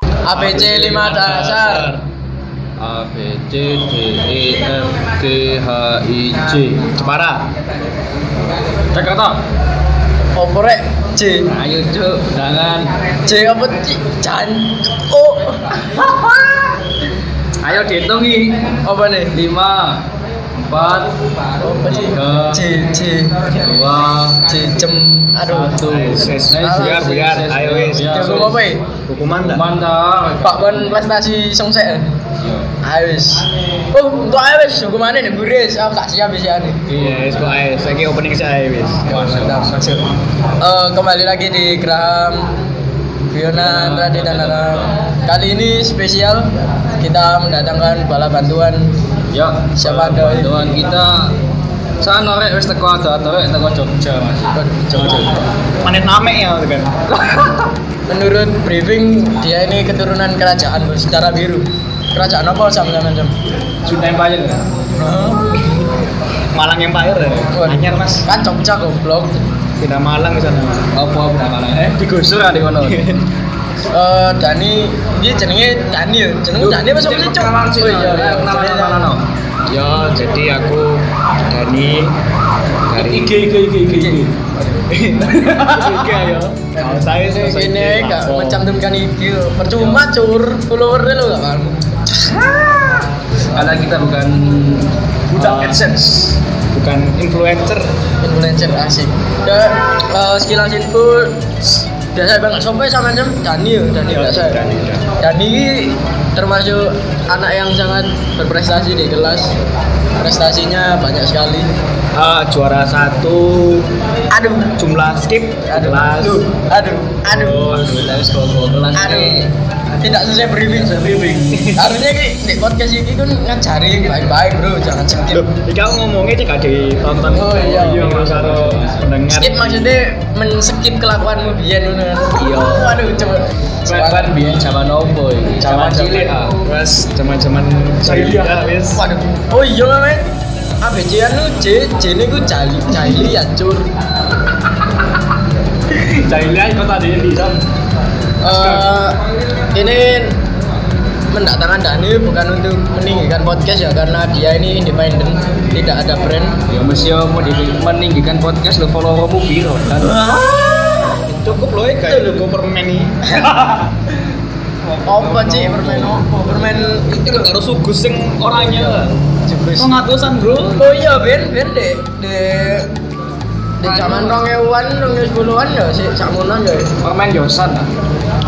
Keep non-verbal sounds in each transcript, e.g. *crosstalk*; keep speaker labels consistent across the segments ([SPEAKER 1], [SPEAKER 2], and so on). [SPEAKER 1] ABC 5 dasar
[SPEAKER 2] A B C D E F G H I J Jepara Jakarta
[SPEAKER 1] oprek C
[SPEAKER 2] Ayo cuk jangan
[SPEAKER 1] C apa C Jan O
[SPEAKER 2] Ayo dihitung nih
[SPEAKER 1] apa nih
[SPEAKER 2] 5 4
[SPEAKER 1] apa sih?
[SPEAKER 2] Tiga.
[SPEAKER 1] C C
[SPEAKER 2] 2
[SPEAKER 1] C Cem aduh
[SPEAKER 2] Satu.
[SPEAKER 3] Ayo, ses,
[SPEAKER 1] Ayo,
[SPEAKER 3] Eh, biar,
[SPEAKER 1] ses,
[SPEAKER 3] biar,
[SPEAKER 2] ses,
[SPEAKER 3] ayo,
[SPEAKER 2] biar,
[SPEAKER 3] wes.
[SPEAKER 2] biar.
[SPEAKER 1] Jago apa ya?
[SPEAKER 3] Hukuman tak?
[SPEAKER 2] Mantap
[SPEAKER 1] Pak Bon prestasi sengsek ayo wis oh enggak ayo wis hukumannya nih buris aku tak siap wis ya nih
[SPEAKER 3] Iya, wes, kok ayo. Saiki opening saya wes.
[SPEAKER 1] Mantap, masuk. Eh, kembali lagi di Graham Fiona Andrade dan Aram. Kali ini spesial kita mendatangkan bala bantuan
[SPEAKER 2] Ya,
[SPEAKER 1] Siapa ada?
[SPEAKER 2] Bantuan kita Saat norek wis teko ada norek teko Jogja Mas.
[SPEAKER 1] Jogja.
[SPEAKER 3] Manet namek ya itu kan.
[SPEAKER 1] Menurut briefing dia ini keturunan kerajaan bos, secara biru. Kerajaan apa sama sama jam?
[SPEAKER 2] Sudah yang banyak ya?
[SPEAKER 3] Malang Empire. ya? Anyar Mas.
[SPEAKER 1] Kan Jogja goblok.
[SPEAKER 3] Tidak Malang di sana. Mas.
[SPEAKER 2] Apa apa mana? Eh, digusur kan di
[SPEAKER 3] *laughs*
[SPEAKER 2] kono.
[SPEAKER 1] Eh, Dani, dia jenenge Dani ya. Jenenge Dani apa sama Cok? Oh
[SPEAKER 3] Eh,
[SPEAKER 1] iya, iya.
[SPEAKER 2] kenalan mana no?
[SPEAKER 3] Ya, jadi aku Dani dari
[SPEAKER 2] IG IG IG IG.
[SPEAKER 3] Oke, ayo. *laughs* Kalau Nah, saya sih
[SPEAKER 1] Nah,
[SPEAKER 3] Oh.
[SPEAKER 1] Ini gak
[SPEAKER 3] lapo.
[SPEAKER 1] mencantumkan IG percuma cur followernya lo gak paham
[SPEAKER 2] Karena kita bukan
[SPEAKER 3] Budak
[SPEAKER 2] eh,
[SPEAKER 3] AdSense. Bukan influencer.
[SPEAKER 1] influencer asik dan uh, sekilas info biasa banget sampai sama jam Dani ya Dani
[SPEAKER 3] Ya,
[SPEAKER 1] biasa
[SPEAKER 3] Dani, Dani.
[SPEAKER 1] Dani ini termasuk anak yang sangat berprestasi di kelas prestasinya banyak sekali
[SPEAKER 3] Ah, juara satu
[SPEAKER 1] aduh
[SPEAKER 3] jumlah skip
[SPEAKER 1] aduh
[SPEAKER 3] kelas.
[SPEAKER 1] aduh aduh aduh
[SPEAKER 2] Oh, Terus kalau bawa kelas
[SPEAKER 1] aduh
[SPEAKER 2] ini
[SPEAKER 1] tidak sesuai briefing briefing harusnya ki di podcast ini kan ngajarin baik-baik bro jangan skip
[SPEAKER 3] Loh, jika ngomongnya cek ada tonton.
[SPEAKER 1] Oh, iya.
[SPEAKER 3] karo pendengar.
[SPEAKER 1] skip maksudnya men-skip kelakuanmu biyen ngono
[SPEAKER 3] Iya.
[SPEAKER 1] waduh coba
[SPEAKER 2] Kan
[SPEAKER 1] sekarang
[SPEAKER 2] biar zaman nopo ini.
[SPEAKER 3] Zaman
[SPEAKER 2] cilik
[SPEAKER 3] cilik
[SPEAKER 2] ah.
[SPEAKER 3] Wes, zaman-zaman
[SPEAKER 2] Jahiliyah.
[SPEAKER 3] jahiliyah, wes.
[SPEAKER 1] waduh oh iya men ABC anu J J ini gue jali jali ya, hancur
[SPEAKER 3] Jahiliyah itu tadi di Sam.
[SPEAKER 1] Eh, ini mendatangkan Dani bukan untuk meninggikan podcast ya karena dia ini independen tidak ada brand
[SPEAKER 2] Ya mesti yo mau di- meninggikan podcast lo followermu biro kan.
[SPEAKER 3] Cukup loh, kayak logo permen ini.
[SPEAKER 1] apa sih permen apa permen kan
[SPEAKER 3] Itu harus sugus sing orangnya.
[SPEAKER 2] Iya.
[SPEAKER 1] jebus
[SPEAKER 3] ngatusan bro.
[SPEAKER 1] Oh iya, Ben, Ben deh, deh, deh zaman rong ewan, rong ewu sepuluhan ya, si samunan ya.
[SPEAKER 2] Permen Yosan ah.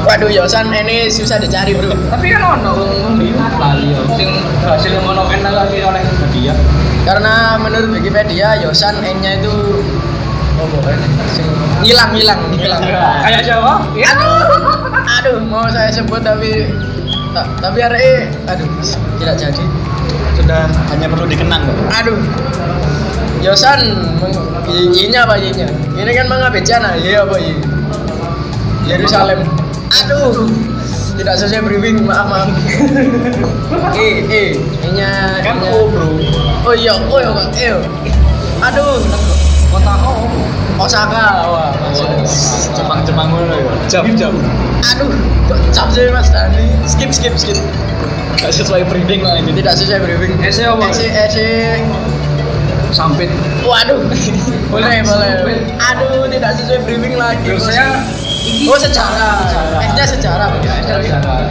[SPEAKER 1] Waduh, Yosan ini susah dicari bro.
[SPEAKER 2] Tapi kan ono lali ya. yo sing hasil ngono kan lagi oleh media.
[SPEAKER 1] Karena menurut Wikipedia, Yosan N-nya itu apa ya? Sing- hilang, hilang, hilang.
[SPEAKER 2] Kayak siapa?
[SPEAKER 1] Aduh, Ya. aduh, mau saya sebut tapi ta- tapi hari aduh tidak jadi.
[SPEAKER 3] Sudah hanya perlu dikenang. Bro.
[SPEAKER 1] Aduh, Yosan, meng- Y-nya apa Y-nya? Ini kan mengabecana, Y apa Y? Yerusalem. Aduh, tidak sesuai briefing, maaf maaf. *laughs* e e, nya
[SPEAKER 3] Kan
[SPEAKER 1] nya.
[SPEAKER 3] O bro.
[SPEAKER 1] Oh iya, oh iya, Kak. e. Aduh,
[SPEAKER 2] Kota kok.
[SPEAKER 1] Osaka, wah masuk.
[SPEAKER 3] Jepang-Jepang ngono ya.
[SPEAKER 2] Iya,
[SPEAKER 3] Jam-jam.
[SPEAKER 1] Aduh, kok cap sih Mas Dani. Skip skip skip.
[SPEAKER 3] Gak sesuai briefing lah ini.
[SPEAKER 1] Tidak sesuai briefing.
[SPEAKER 2] Ese apa?
[SPEAKER 1] Ese ese.
[SPEAKER 2] Sampit.
[SPEAKER 1] Waduh, boleh boleh.
[SPEAKER 2] Sumpit.
[SPEAKER 1] Aduh, tidak sesuai briefing lagi.
[SPEAKER 2] Terus saya
[SPEAKER 1] Oh sejarah,
[SPEAKER 3] Eh,
[SPEAKER 1] S-nya sejarah.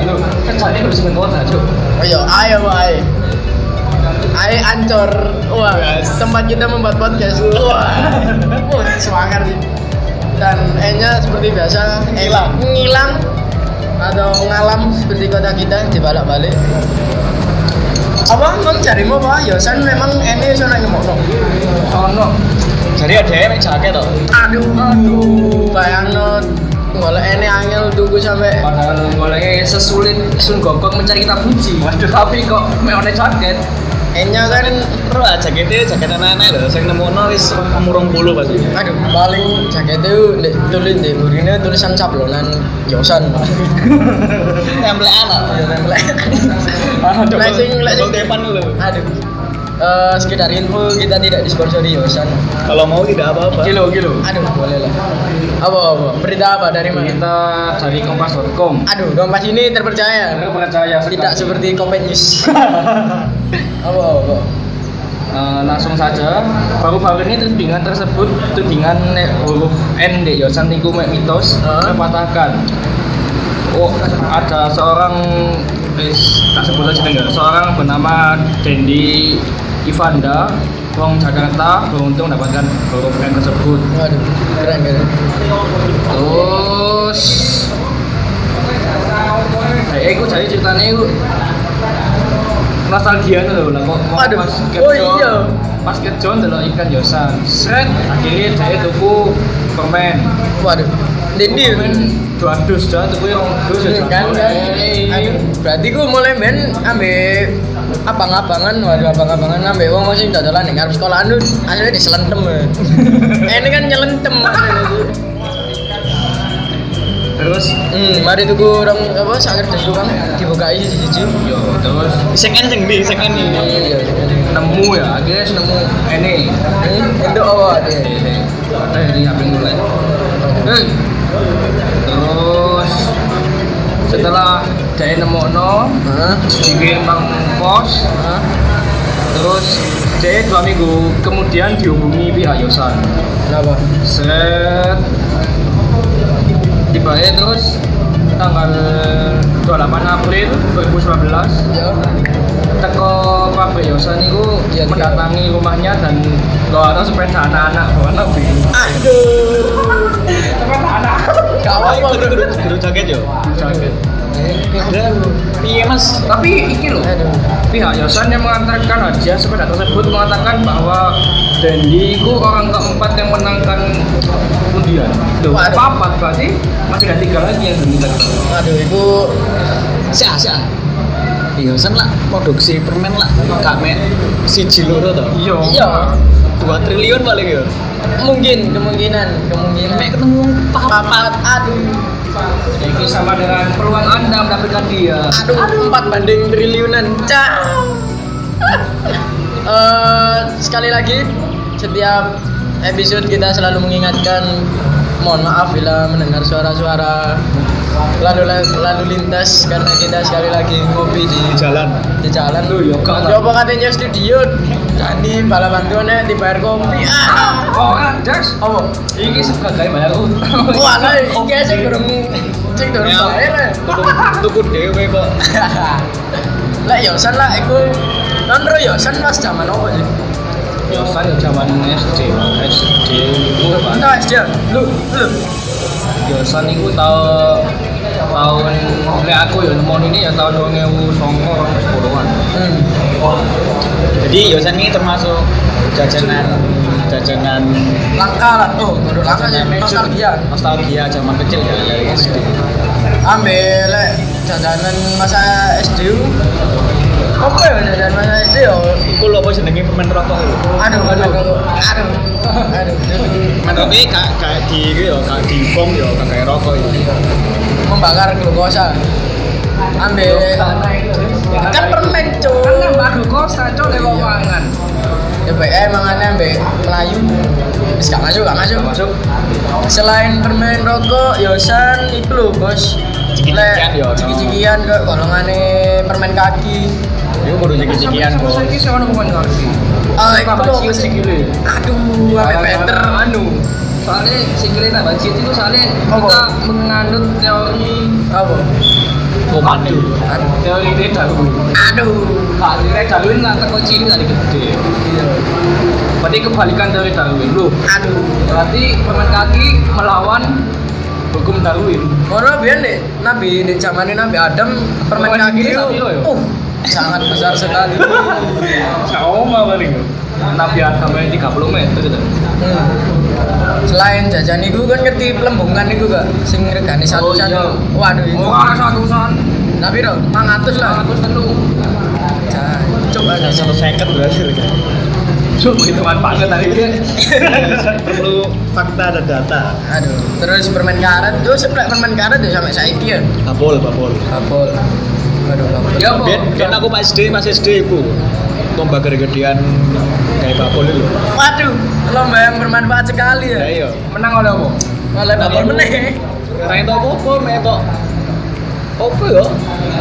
[SPEAKER 2] Lu kan soalnya udah semen kota, Cuk.
[SPEAKER 1] Oh iya, ayo ayo. Ayo ancor. Wah,
[SPEAKER 3] Yes.
[SPEAKER 1] tempat kita membuat podcast. Wah. Wah, semangat nih. Dan E-nya seperti biasa, E
[SPEAKER 3] Ngilang.
[SPEAKER 1] ngilang atau ngalam seperti kota kita dibalak-balik. Apa emang carimu apa? Yosan memang ini sana ngomong.
[SPEAKER 2] Sono.
[SPEAKER 3] Jadi ada yang jaket toh.
[SPEAKER 1] Aduh, aduh.
[SPEAKER 3] eh.
[SPEAKER 1] Bayangno golek ini angel tunggu sampai
[SPEAKER 2] Padahal mulai sesulit Sun Gokong mencari kita puji. Waduh, tapi kok meone jaket.
[SPEAKER 1] E-nya kan
[SPEAKER 3] Terus lah jaketnya jaket anak-anak loh. Saya nemu wis murung bulu
[SPEAKER 2] *laughs*
[SPEAKER 3] pasti.
[SPEAKER 1] Aduh, paling jaket itu di- tulis di burine tulisan cablonan Yosan.
[SPEAKER 3] Template anak.
[SPEAKER 1] Ya, nempel. Lek
[SPEAKER 3] Anak double Ah,
[SPEAKER 1] sing- lek sing-
[SPEAKER 3] double tepan loh.
[SPEAKER 1] Aduh. eh, sekedar info kita tidak disponsori Yosan.
[SPEAKER 3] Kalau mau tidak apa-apa.
[SPEAKER 1] Kilo kilo. Aduh boleh lah. Apa apa? Berita apa dari mana?
[SPEAKER 2] Kita dari kompas.com.
[SPEAKER 1] Aduh kompas ini terpercaya.
[SPEAKER 2] Saya percaya
[SPEAKER 1] Tidak
[SPEAKER 2] sekali.
[SPEAKER 1] seperti Kompet News. apa apa?
[SPEAKER 2] Eh, langsung saja baru-baru ini tudingan tersebut tudingan ne- huruf N di Yosan Tiku Mitos
[SPEAKER 1] Hah?
[SPEAKER 2] terpatahkan oh ada seorang wis, tak sebut aja dengar seorang bernama Dendi Ivanda Wong Jakarta beruntung mendapatkan huruf N tersebut
[SPEAKER 1] Waduh keren keren.
[SPEAKER 2] terus eh aku jadi ceritanya aku nostalgia tuh loh lah kok kok
[SPEAKER 1] Aduh,
[SPEAKER 2] pas kerja
[SPEAKER 1] oh iya.
[SPEAKER 2] pas kerja ndelok ikan yosan seret akhirnya saya tuku permen
[SPEAKER 1] Waduh. Dendi.
[SPEAKER 2] permen dua dus dah tuku yang dus ya
[SPEAKER 1] kan
[SPEAKER 2] jangan
[SPEAKER 1] kan
[SPEAKER 2] boleh.
[SPEAKER 1] Aduh, berarti ku mulai ben ambek abang-abangan waduh abang-abangan ambek wong wong sing dodolan ning arep sekolahan tuh akhirnya diselentem ya. ini kan nyelentem maksudnya tuh.
[SPEAKER 2] terus
[SPEAKER 1] hmm mari tuku orang apa sakit des tukang dibukai siji-siji
[SPEAKER 2] yo terus
[SPEAKER 3] Sing N sing di, sing N di.
[SPEAKER 1] iya iya.
[SPEAKER 2] nemu ya akhirnya nemu ini
[SPEAKER 1] Hmm, untuk apa deh
[SPEAKER 2] ada dari HP Eh, mulai Hei. terus setelah saya nemu no
[SPEAKER 1] Hah?
[SPEAKER 2] dikirim bang pos
[SPEAKER 1] Hah?
[SPEAKER 2] terus saya dua minggu kemudian dihubungi pihak Yosan
[SPEAKER 1] kenapa
[SPEAKER 2] set tiba terus tanggal 28 April 2019
[SPEAKER 1] ya
[SPEAKER 2] teko pabrik Yosan itu
[SPEAKER 1] Iya, tiga.
[SPEAKER 2] mendatangi rumahnya dan loaran sepeda anak-anak bawa nabi
[SPEAKER 1] aduh
[SPEAKER 2] sepeda anak
[SPEAKER 1] gak apa-apa
[SPEAKER 3] Kudu kudu kudu jaket yo.
[SPEAKER 2] Jaget.
[SPEAKER 3] Piye Mas?
[SPEAKER 2] tapi iki loh
[SPEAKER 1] aduh
[SPEAKER 2] pihak Yosan yang mengantarkan hadiah sepeda tersebut mengatakan bahwa Dendi itu orang keempat yang menangkan undian loh
[SPEAKER 1] Waduh.
[SPEAKER 2] papat berarti masih ada tiga lagi yang belum datang
[SPEAKER 1] aduh itu
[SPEAKER 3] Sia sia. Iya, sen lah produksi permen lah. Gak mek siji loro to.
[SPEAKER 2] iya
[SPEAKER 1] iya
[SPEAKER 3] 2 triliun paling yo.
[SPEAKER 1] mungkin kemungkinan
[SPEAKER 3] Mek
[SPEAKER 1] kemungkinan
[SPEAKER 3] ketemu papa.
[SPEAKER 1] papat aduh
[SPEAKER 2] itu sama dengan peluang anda mendapatkan dia
[SPEAKER 1] Aduh, empat banding triliunan, cak. Eh, sekali lagi, setiap episode kita selalu mengingatkan, mohon maaf bila mendengar suara-suara lalu lalu lintas karena kita sekali lagi ngopi di
[SPEAKER 3] Di jalan.
[SPEAKER 1] di jalan
[SPEAKER 2] Duh, ya kan.
[SPEAKER 1] Yo apa katanya studio tadi bala bantuannya dibayar kopi. Ah.
[SPEAKER 2] oh kan Jax
[SPEAKER 1] Apa?
[SPEAKER 2] ini sebagai bayar
[SPEAKER 1] Wah, nah, iya, lah iki sing durung sing durung
[SPEAKER 3] Ya.
[SPEAKER 1] bayar. eh. lah.
[SPEAKER 3] Tuku tuku dhewe kok.
[SPEAKER 1] lah yosan lah aku non ro yosan pas zaman apa sih
[SPEAKER 2] Yosan ya zaman SD SD itu
[SPEAKER 1] kita
[SPEAKER 2] kan
[SPEAKER 1] SD lu lu
[SPEAKER 2] Yosan itu tahun tahun nek aku ya nemu ini ya tahun 2009 2010-an
[SPEAKER 1] hmm.
[SPEAKER 3] Jadi Yosan ini termasuk jajanan jajanan
[SPEAKER 1] langka lah oh menurut langka sih nostalgia
[SPEAKER 3] nostalgia zaman kecil ya dari SD.
[SPEAKER 1] ambil lek jajanan masa SD ku. apa ya jajanan masa SD ya
[SPEAKER 3] Iku lho apa jenenge permen rokok lho.
[SPEAKER 1] aduh aduh aduh aduh aduh
[SPEAKER 3] Permen rokok iki gak gak di iki yo gak di bom yo gak kayak rokok iki.
[SPEAKER 1] membakar glukosa ambil kan permen cuy
[SPEAKER 2] baru kosan cok lewat ruangan
[SPEAKER 1] Iya. ya baik emang aneh ambil Melayu Wis gak masuk gak masuk
[SPEAKER 2] masuk
[SPEAKER 1] selain permen rokok ya, yosan itu loh bos
[SPEAKER 3] Ciki-cikian
[SPEAKER 1] Lek,
[SPEAKER 3] yo, no.
[SPEAKER 1] ciki-cikian kok golongane permen kaki
[SPEAKER 3] Iku kudu jeki-jekian bos. Nah,
[SPEAKER 2] Sampai saya ono komen ngerti
[SPEAKER 1] Ah,
[SPEAKER 2] Tambah
[SPEAKER 1] itu loh,
[SPEAKER 2] ciut
[SPEAKER 1] bos.
[SPEAKER 2] sikile.
[SPEAKER 1] aduh apa better
[SPEAKER 2] anu soalnya sikile tambah ciut itu soalnya
[SPEAKER 1] Apa?
[SPEAKER 2] kita menganut teori
[SPEAKER 1] apa
[SPEAKER 3] Komando.
[SPEAKER 2] teori ini dahulu
[SPEAKER 1] aduh
[SPEAKER 2] Pak Teori Darwin lah teko cilik tadi gede. Berarti kebalikan teori Darwin lu.
[SPEAKER 1] aduh
[SPEAKER 2] Berarti permen kaki melawan hukum Darwin.
[SPEAKER 1] Ono biyen nek nabi nek zamane nabi Adam permen
[SPEAKER 2] Permen
[SPEAKER 1] kaki
[SPEAKER 2] cikian
[SPEAKER 1] itu
[SPEAKER 2] tak piro yo?
[SPEAKER 1] uh sangat besar sekali. Hmm.
[SPEAKER 2] Sama paling. Nabi Adam yang 30 meter gitu.
[SPEAKER 1] Hmm. Selain jajan itu kan ngerti pelembungan itu gak sing regane satu
[SPEAKER 2] Oh, iya. Oh.
[SPEAKER 1] satu. Waduh itu.
[SPEAKER 2] Wah, satu san.
[SPEAKER 1] Nabi dong, 500 lah.
[SPEAKER 2] Aku telu.
[SPEAKER 1] Coba
[SPEAKER 3] Ada
[SPEAKER 1] aja
[SPEAKER 3] satu second berhasil kan.
[SPEAKER 2] Cuk, hitungan banget tadi *laughs* dia.
[SPEAKER 3] Perlu fakta dan data.
[SPEAKER 1] Aduh, terus permen karet tuh sebelah permen karet tuh sampai saiki ya.
[SPEAKER 3] Babol, Iya, babol.
[SPEAKER 1] Kabel. Aduh, kabel.
[SPEAKER 2] Ya, Bo.
[SPEAKER 3] Ben, ben aku pas SD, pas SD iku. lomba gede-gedean kayak bakul itu lho.
[SPEAKER 1] Waduh, lomba yang bermanfaat sekali ya.
[SPEAKER 3] Ya iya.
[SPEAKER 2] menang oleh apa?
[SPEAKER 1] Malah bakal meneh.
[SPEAKER 3] Ora entuk apa-apa, mek entuk apa ya?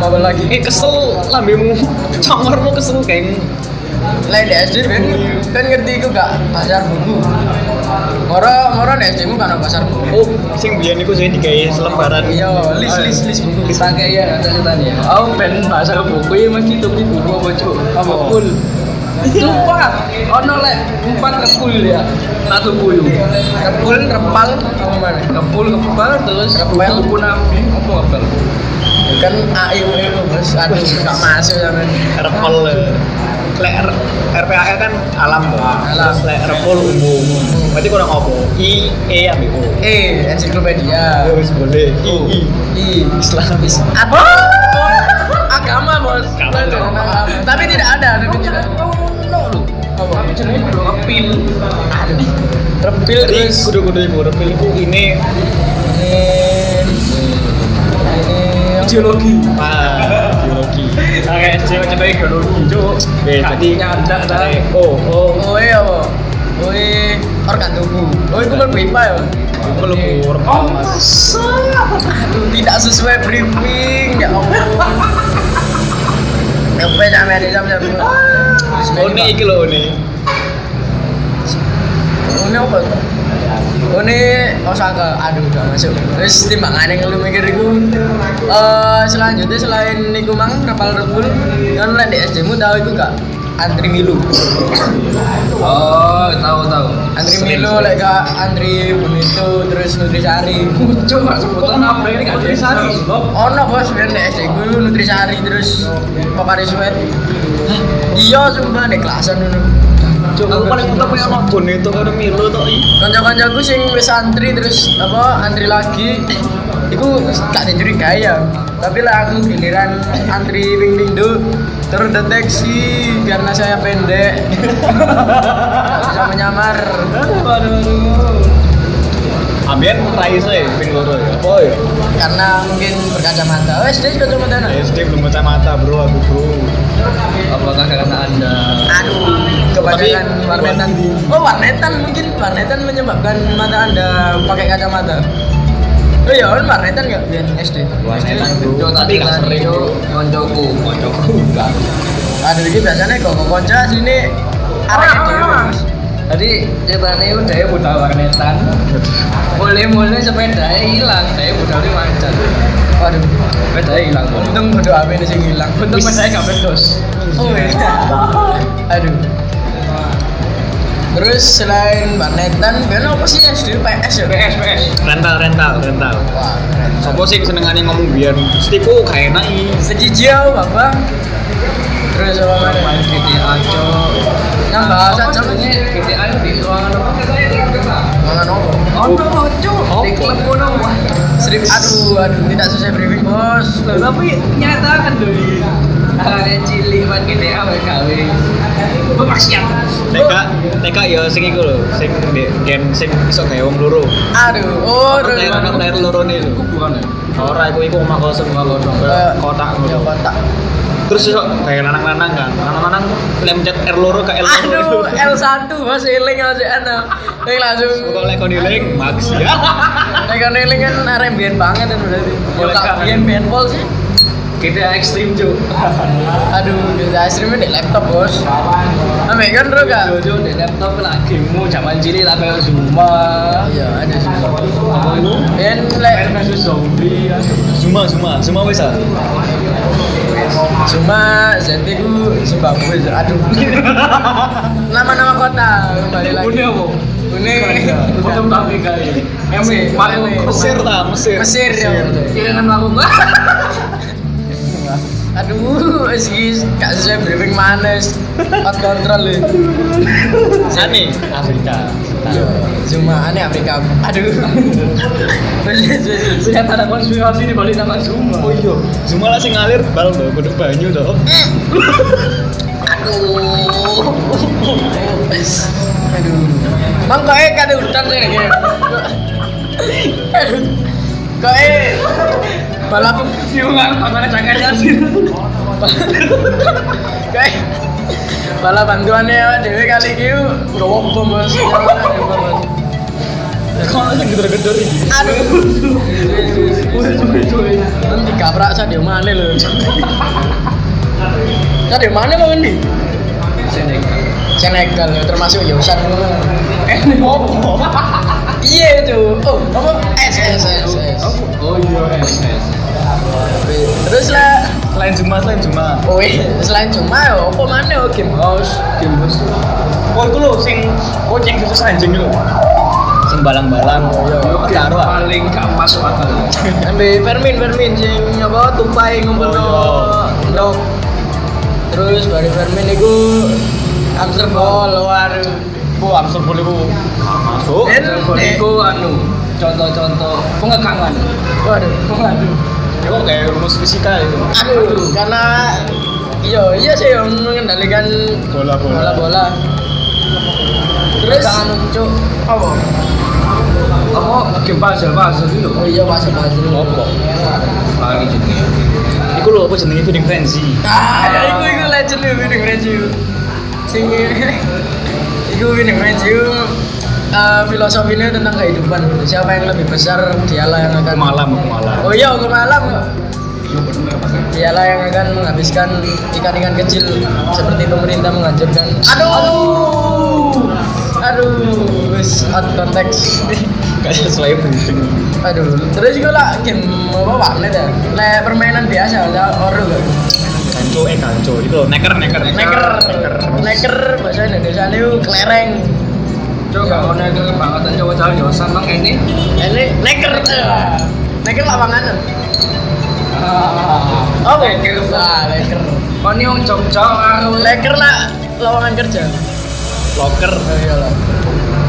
[SPEAKER 1] Apa lagi?
[SPEAKER 3] Eh kesel lambemu, congormu kesel geng.
[SPEAKER 1] Lain di SD ben kan ngerti iku gak pasar bumbu. Moro moro di SD mu kan ono pasar bumbu.
[SPEAKER 3] Oh, sing biyen iku sing digawe selembaran.
[SPEAKER 1] Iya, list list list bumbu. Kita kayak ya ada ceritanya. ya.
[SPEAKER 2] Aku ben bahasa buku ya mesti tuku buku apa cuk?
[SPEAKER 1] Apa?
[SPEAKER 2] Kul. Sumpah, ono lek empat kepul ya. Satu puyuh.
[SPEAKER 1] Kepul, repal, apa mana?
[SPEAKER 2] Kepul kepal terus
[SPEAKER 1] Kepel.
[SPEAKER 2] buku nami apa kepal?
[SPEAKER 1] Kan AIU itu bos, aduh gak masuk sampean.
[SPEAKER 3] Repel. eh. Lek R- RPAL kan alam lah.
[SPEAKER 1] Alam.
[SPEAKER 3] Terus lek repel umum. Berarti kurang apa? I E ambil O.
[SPEAKER 1] Eh, ensiklopedia.
[SPEAKER 3] Ya wis boleh. Oh. I I
[SPEAKER 1] I
[SPEAKER 3] Islam is
[SPEAKER 1] apa? Agama bos.
[SPEAKER 3] Agama.
[SPEAKER 1] Agama. Tapi tidak ada, tapi tidak. ada. Apa?
[SPEAKER 2] Tapi jenenge belum kepil.
[SPEAKER 1] Repil
[SPEAKER 3] Jadi
[SPEAKER 1] terus.
[SPEAKER 3] kudu-kudu ibu repel iku ini
[SPEAKER 1] Ini- ini-
[SPEAKER 2] Geologi.
[SPEAKER 3] Pak biologi.
[SPEAKER 2] Kayak SD macam kayak geologi cuk.
[SPEAKER 3] Eh,
[SPEAKER 2] Tadi nyandak dah.
[SPEAKER 1] Eh.
[SPEAKER 3] Oh, oh.
[SPEAKER 1] Oe apa? Oe organ tubuh. Oe itu kan BIPA ya.
[SPEAKER 3] Melebur.
[SPEAKER 2] Oh, masa?
[SPEAKER 1] Aduh, tidak sesuai briefing ya Allah. Sampai sampai ada sampai sampai.
[SPEAKER 3] Oni Oh, iki lho Oni.
[SPEAKER 1] Ini apa? Ini Osaka. Aduh, gak masuk. Terus timbangannya kalau mikir iku eh selanjutnya selain niku mang kapal rebul kan lek di SD mu tahu iku gak antri milu.
[SPEAKER 2] Oh, tahu tahu.
[SPEAKER 1] Antri Milo, lek gak antri Bonito, terus Nutrisari.
[SPEAKER 2] Coba sebutan apa ini enggak jadi sari.
[SPEAKER 1] ono bos biar nek SD ku nutrisari terus pokari suwet iya sumpah nek kelasan ngono
[SPEAKER 3] Aku paling utama yang nonton itu karo Milo tok iki.
[SPEAKER 1] kanca-kancaku sing wis antri terus apa antri lagi iku gak dicurigai ya tapi lah aku giliran antri wing windu terdeteksi karena saya pendek *laughs* Gak bisa menyamar
[SPEAKER 3] Ambien Raisa ya, ping loro ya. Oh ya.
[SPEAKER 1] karena mungkin berkacamata oh SD berkacamata nah.
[SPEAKER 3] SD belum baca mata bro, aku bro.
[SPEAKER 2] Apakah karena Anda
[SPEAKER 1] Aduh, kebanyakan
[SPEAKER 3] Tapi-
[SPEAKER 1] warnetan. Oh, warnetan mungkin warnetan menyebabkan mata Anda pakai kacamata. Oh iya, kan warnetan nggak biar SD?
[SPEAKER 3] Warnetan, Bro.
[SPEAKER 2] Yo
[SPEAKER 3] Tapi
[SPEAKER 2] tadi
[SPEAKER 3] nggak
[SPEAKER 2] kan
[SPEAKER 3] sering.
[SPEAKER 2] yo koncoku.
[SPEAKER 3] Kocokku enggak.
[SPEAKER 1] Aduh, ini biasanya kok kok konca sini arahnya
[SPEAKER 2] Arek
[SPEAKER 1] dhewe.
[SPEAKER 2] dhewe. Jadi ceritanya itu dia budal warnetan. Mulai-mulai sepeda hilang, dia budal ini mancan.
[SPEAKER 1] Waduh,
[SPEAKER 2] Sepeda hilang.
[SPEAKER 1] untung bodo ape ini sing hilang.
[SPEAKER 2] Untung sepeda gak pedos.
[SPEAKER 1] Oh iya. *laughs* Aduh. Terus selain warnetan, biar apa sih SD PS ya?
[SPEAKER 2] PS PS.
[SPEAKER 3] Rental, rental, rental.
[SPEAKER 1] Wah,
[SPEAKER 3] Sopo sih senengane ngomong biar stiku gak enak iki.
[SPEAKER 1] sejijau Bapak. Terus apa mana?
[SPEAKER 2] Main GTA aja.
[SPEAKER 1] Nambah saja
[SPEAKER 2] GTA itu di ruangan apa?
[SPEAKER 1] Mana nopo?
[SPEAKER 2] Oh, no, cuk. Di
[SPEAKER 3] Oh.
[SPEAKER 2] klub kono, wah.
[SPEAKER 1] Strip aduh aduh tidak sesuai briefing bos.
[SPEAKER 2] Loh, tapi nyata kan doi Ada cili
[SPEAKER 1] ah,
[SPEAKER 2] man GTA berkawe Bermaksiat
[SPEAKER 3] TK, TK ya sing iku lho, sing di- gen sing iso gawe wong loro.
[SPEAKER 1] Aduh oh aduh.
[SPEAKER 3] Layar anak layar loro nih lho.
[SPEAKER 2] Bukan ya?
[SPEAKER 3] Ora iku iku omah kosong omah kosong.
[SPEAKER 1] Eh,
[SPEAKER 3] Kotak
[SPEAKER 1] ya,
[SPEAKER 3] ngono.
[SPEAKER 1] kotak.
[SPEAKER 3] Terus iso kayak lanang-lanang kan. Lanang-lanang lemcet R loro ke L loro.
[SPEAKER 1] Aduh L1 bos eling aja ana. Ini langsung
[SPEAKER 3] Kok lek kon eling, Max ya.
[SPEAKER 1] tekan eling kan arek mbiyen banget kan berarti. Ya
[SPEAKER 2] Boleh,
[SPEAKER 1] tak
[SPEAKER 2] Kak.
[SPEAKER 1] mbiyen mbiyen pol sih.
[SPEAKER 2] GTA ekstrim cu
[SPEAKER 1] Aduh kita streamnya di laptop bos. Ambek kan terus gak?
[SPEAKER 2] Jojo di laptop lah gamemu zaman cili lah kayak Zuma
[SPEAKER 1] Iya ada sih.
[SPEAKER 2] Apa itu?
[SPEAKER 1] Ben
[SPEAKER 2] Plan
[SPEAKER 1] lek
[SPEAKER 2] versus zombie ya.
[SPEAKER 3] Zuma, Zuma, Zuma wis ah.
[SPEAKER 1] cuma Zeti ku Zimbabwe aduh. Nama-nama kota kembali lagi.
[SPEAKER 2] Punya apa?
[SPEAKER 1] Ini
[SPEAKER 2] Untuk Afrika ya Emi, paling
[SPEAKER 3] Mesir ta, Mesir.
[SPEAKER 1] Mesir ya. betul.
[SPEAKER 2] Kira kan aku
[SPEAKER 1] *laughs* Aduh, wis guys, gak sesuai briefing manes. Out kontrol ya.
[SPEAKER 3] Ane, Afrika.
[SPEAKER 1] Iya, cuma aneh Afrika. Aduh. Wis, wis, wis.
[SPEAKER 2] Saya ada konspirasi di balik nama Zuma
[SPEAKER 3] Oh iya, Zuma lah sing ngalir bal to, kudu banyu Oh, to.
[SPEAKER 1] Aduh. Aduh. Mang koe kade udan sih iki. Aduh. Koe balap
[SPEAKER 2] Siungan, makanya cangkanya sih
[SPEAKER 1] koe Bala bantuannya ya, Dewi kali ini Gak bom mas
[SPEAKER 3] Kalau yang gedor-gedor ini.
[SPEAKER 1] Aduh Nanti kaprak saya di mana loh Saya di mana loh Andi? Senegal ya, termasuk Yosan
[SPEAKER 2] Eh, ini apa?
[SPEAKER 1] Iya itu Oh, apa? S, S, S, S
[SPEAKER 2] Oh iya, es, es.
[SPEAKER 1] Terus lah
[SPEAKER 2] Selain Jumat, selain Jumat.
[SPEAKER 1] Oh iya, selain cuma ya, apa mana ya Game House
[SPEAKER 2] Game bos. Oh, itu loh, sing kucing khusus anjing itu.
[SPEAKER 3] Sing balang-balang.
[SPEAKER 1] Iya.
[SPEAKER 3] Yo, karo. ah.
[SPEAKER 2] Paling gak masuk akal.
[SPEAKER 1] Ambil Fermin, Fermin sing apa tupai
[SPEAKER 2] Oh,
[SPEAKER 1] ngumpul no
[SPEAKER 2] iya.
[SPEAKER 1] ndok. Terus bari Fermin iku Amsterdam luar.
[SPEAKER 2] Aku absurd boleh aku. Masuk.
[SPEAKER 1] Eh, eh.
[SPEAKER 2] Aku anu, contoh-contoh pengekangan.
[SPEAKER 1] Waduh.
[SPEAKER 2] Pengaduh. Ya kok kayak rumus fisika itu.
[SPEAKER 1] Aduh, karena iya iya sih yang mengendalikan
[SPEAKER 2] Bola
[SPEAKER 1] bola bola. Terus jangan muncul apa?
[SPEAKER 2] Apa game puzzle puzzle itu?
[SPEAKER 1] Oh iya pas pas
[SPEAKER 2] Apa? Lagi jadi.
[SPEAKER 3] Iku lho apa jenenge feeding frenzy?
[SPEAKER 1] Ah, ya, iku iku legend iku winning review. Sing *laughs* iku winning review eh filosofinya tentang kehidupan. gitu. Siapa yang lebih besar, dialah yang akan
[SPEAKER 3] Malam, malam.
[SPEAKER 1] Oh iya, hukum alam. Dialah yang akan menghabiskan ikan-ikan kecil seperti pemerintah menghancurkan. Aduh. Aduh, wis out konteks.
[SPEAKER 3] Gak sesuai briefing.
[SPEAKER 1] *laughs* Aduh, terus iku lah game apa wae ta? Lah permainan biasa, lah ora kok.
[SPEAKER 3] Ganco eh ganco. Itu lho neker neker
[SPEAKER 1] Neker, neker bahasa Indonesia ini kelereng.
[SPEAKER 2] Coba kalau naik kebangatan coba jalan josan bang ini.
[SPEAKER 1] Ini neker, neker lapangan. Oh, neker, ah, neker,
[SPEAKER 2] Kau ini orang Jogja karo
[SPEAKER 1] neker lah lapangan kerja.
[SPEAKER 3] Locker.
[SPEAKER 1] Oh iyalah.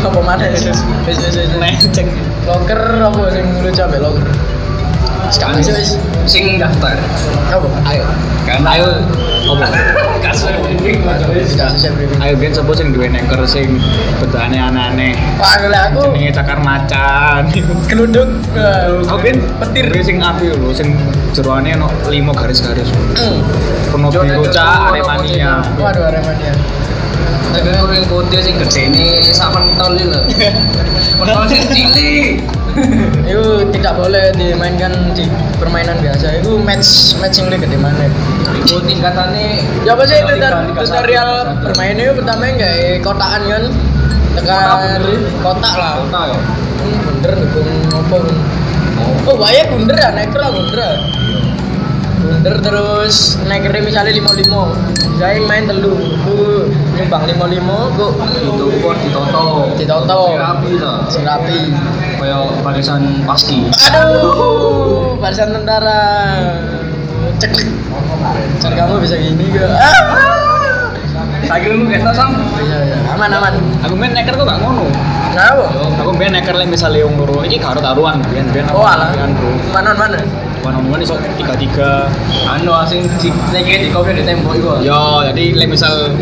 [SPEAKER 1] Apa mana ya? Yes, yes, yes, yes.
[SPEAKER 3] Meceng.
[SPEAKER 1] Loker apa sih mulu capek loker? Sekarang sih, wis.
[SPEAKER 2] sing daftar.
[SPEAKER 1] apa? Ayo,
[SPEAKER 3] Kan ayo
[SPEAKER 2] *laughs*
[SPEAKER 3] apa?
[SPEAKER 2] Kasar ini
[SPEAKER 1] kita siap briefing.
[SPEAKER 3] Ayo gen sapa sing duwe neker sing bedane aneh-aneh.
[SPEAKER 1] Wah, lah aku eh,
[SPEAKER 3] Jenenge cakar macan.
[SPEAKER 1] gelundung.
[SPEAKER 3] Aku ben petir sing aku lho sing jeroane ono 5 garis-garis. Kono biru cak aremania.
[SPEAKER 1] Hmm. Waduh, Aremania.
[SPEAKER 2] Tapi
[SPEAKER 3] kan
[SPEAKER 2] aku yang kode sing gede ini sama mentol ini loh. Mentol sing cilik.
[SPEAKER 1] itu tidak boleh dimainkan di permainan biasa itu match matching league di mana
[SPEAKER 2] Iku tingkatannya
[SPEAKER 1] ya apa sih
[SPEAKER 2] Tiga,
[SPEAKER 1] tutor-
[SPEAKER 2] tiga,
[SPEAKER 1] tutorial
[SPEAKER 2] satu, satu.
[SPEAKER 1] bermain itu pertama kayak kotaan kan tekan kotak lah
[SPEAKER 2] Kota ya.
[SPEAKER 1] Hmm, bunder dukung apa kan? oh bahaya bunder ya neker lah bunder ya. bunder terus nekernya misalnya lima lima saya main telu ku nyumbang lima lima ku
[SPEAKER 2] Itu kok ditoto.
[SPEAKER 1] Ditoto.
[SPEAKER 2] Rapi lah.
[SPEAKER 1] sing rapi
[SPEAKER 2] Kayak barisan pasti.
[SPEAKER 1] Aduh, barisan tentara. Cek. Cara kamu bisa gini gak? Ah.
[SPEAKER 2] Saya kira lu kita sam.
[SPEAKER 1] Iya, iya. Aman, aman.
[SPEAKER 3] Aku main neker kok gak ngono.
[SPEAKER 1] Kenapa?
[SPEAKER 3] Aku main neker lek misalnya wong loro iki karo taruhan ben ben
[SPEAKER 1] Oh, alah.
[SPEAKER 3] Kan bro.
[SPEAKER 1] Manon mana?
[SPEAKER 3] One on one iso 3-3.
[SPEAKER 2] Anu asing di naiknya di kopi di tembok itu.
[SPEAKER 3] Yo, jadi lek misal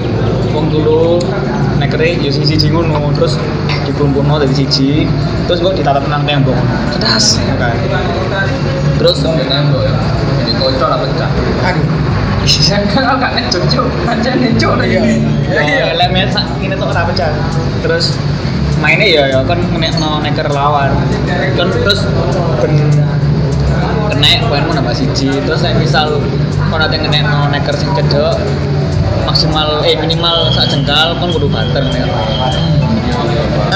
[SPEAKER 3] wong dulu nekere yo sing siji ngono, terus dikumpulno dari siji, terus kok ditatap nang tembok. Cedas ya kan. Terus
[SPEAKER 2] Di tembok ya. Jadi kocok lah pecah.
[SPEAKER 1] Aduh.
[SPEAKER 2] Jangan kalau gak ngejok-jok. Aja ngejok lagi.
[SPEAKER 1] Iya.
[SPEAKER 3] ya iya, lek mesak ngene tok ora pecah. Terus mainnya ya ya kan ngenekno neker lawan. Kan terus ben kena poinmu nambah siji, terus lek misal kono ate ngenekno neker sing cedhek maksimal eh minimal sak jengkal kon kudu bater ya.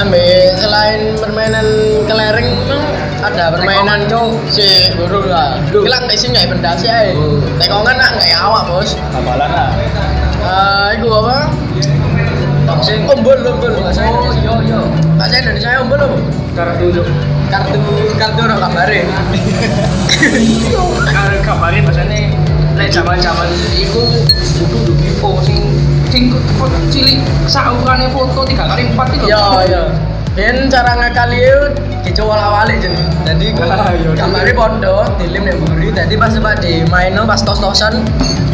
[SPEAKER 1] Ambil selain permainan kelereng, emang ada permainan cowok si burung lah.
[SPEAKER 3] Duh.
[SPEAKER 1] Hilang kayak sini nggak benda sih, ay.
[SPEAKER 2] Oh.
[SPEAKER 1] Tekongan lah nggak awak bos.
[SPEAKER 3] Apalan lah.
[SPEAKER 1] Eh, itu apa?
[SPEAKER 2] Sing.
[SPEAKER 1] Ombol, ombol. Bahasa
[SPEAKER 2] Oh
[SPEAKER 1] Indonesia.
[SPEAKER 2] iya iya.
[SPEAKER 1] Bahasa Indonesia ombol apa?
[SPEAKER 2] Kartu yuk.
[SPEAKER 1] Kartu kartu orang *laughs* kabarin.
[SPEAKER 2] Kalau kabarnya biasanya lek zaman-zaman itu butuh di kipo sing sing foto cilik sakurane foto tiga kali empat itu.
[SPEAKER 1] Iya, iya. Ben cara ngakali itu dicoba awali jen. Jadi
[SPEAKER 2] Ah, iya.
[SPEAKER 1] gambarnya pondo, dilim yang buri. Jadi pas sempat di maino pas tos tosan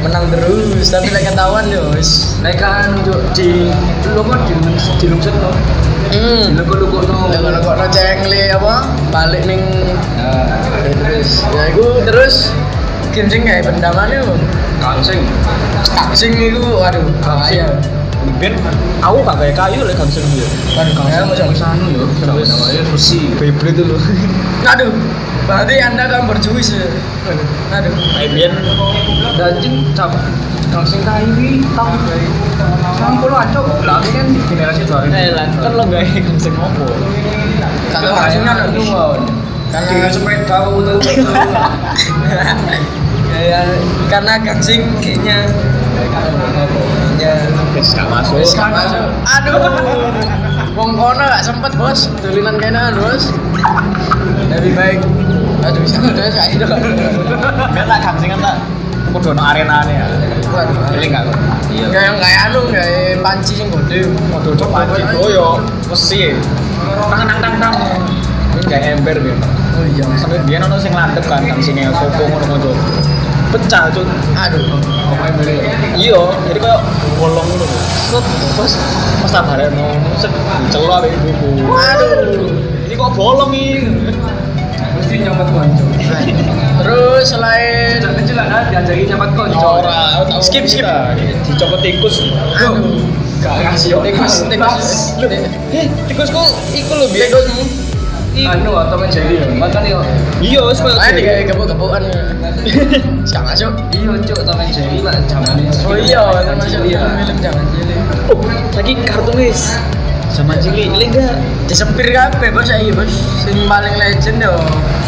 [SPEAKER 1] menang terus. Tapi lagi ketahuan yo wis.
[SPEAKER 2] Lek kan yuk di lu kok di di lungset lo. Di
[SPEAKER 1] Hmm.
[SPEAKER 2] lu lu kok no.
[SPEAKER 1] Jangan kok no cengli apa balik ning terus. Ya iku terus game sing kayak benda mana yo.
[SPEAKER 2] Kancing. Ah, iya.
[SPEAKER 1] Sing iku aduh bahaya.
[SPEAKER 3] mungkin aku gak kayak kayu lek gak bisa dulu
[SPEAKER 2] Kan kalau
[SPEAKER 1] Ya,
[SPEAKER 2] saya
[SPEAKER 1] macam-
[SPEAKER 2] mau sana yo, sampai
[SPEAKER 3] Terus-
[SPEAKER 2] namanya sushi.
[SPEAKER 3] Beyblade dulu
[SPEAKER 1] Aduh, berarti anda kan berjuis ya. Aduh.
[SPEAKER 3] Ibian
[SPEAKER 2] Dajeng cap kang sing kaiwi tang campur acok lah ini kan generasi juara.
[SPEAKER 3] eh lah kan lo gak ikut sing opo
[SPEAKER 1] Kalau rasional itu
[SPEAKER 2] wow.
[SPEAKER 1] Karena
[SPEAKER 2] sepeda aku *laughs* tuh.
[SPEAKER 1] ya, ya, karena gangsing kayaknya ya
[SPEAKER 3] wis gak masuk
[SPEAKER 1] wis gak masuk. Aduh. Wong kono gak sempet, Bos. Tulinan kena, Bos. Lebih baik Aduh, saya udah saya itu.
[SPEAKER 3] kan tak kamsingan tak kudu ono arenane ya
[SPEAKER 1] Waduh.
[SPEAKER 3] pilih gak kok iya
[SPEAKER 1] Kayak yang kayak anu, kayak panci sing gede.
[SPEAKER 3] kudu coba panci doyo mesti tang tang tang tang ini gak ember gitu
[SPEAKER 1] Oh iya.
[SPEAKER 3] sampai biar ono sing landep kan kan sini sopo ngono ngono pecah cuk
[SPEAKER 1] Aduh.
[SPEAKER 3] iya jadi kayak bolong gitu set terus pas tak bareng no set celok ibu ibu
[SPEAKER 1] Aduh.
[SPEAKER 3] ini kok bolong nih
[SPEAKER 2] Mesti nyambat konco.
[SPEAKER 1] Terus selain
[SPEAKER 2] Kecil lah, ada diajari nyambat konco.
[SPEAKER 1] Oh,
[SPEAKER 3] Ora, tak-
[SPEAKER 1] Skip, skip.
[SPEAKER 3] dicopot tikus
[SPEAKER 1] aduh,
[SPEAKER 2] Gak kasih yo.
[SPEAKER 1] tikus, tikus.
[SPEAKER 3] eh tikus kok iku lho biar
[SPEAKER 1] Tikusmu.
[SPEAKER 2] Anu atau menjadi makan yo.
[SPEAKER 3] iya wis koyo
[SPEAKER 1] Ayo tiga *laughs* gebuk-gebukan. Sekarang masuk.
[SPEAKER 2] Iya cuk Tom and Jerry lah zaman ini.
[SPEAKER 1] Oh iya,
[SPEAKER 2] lah,
[SPEAKER 1] kan masuk film jangan cilik.
[SPEAKER 3] Oh, lagi kartun wis sama cili ini enggak
[SPEAKER 1] Disempir kabeh bos saiki bos. Sing paling legend yo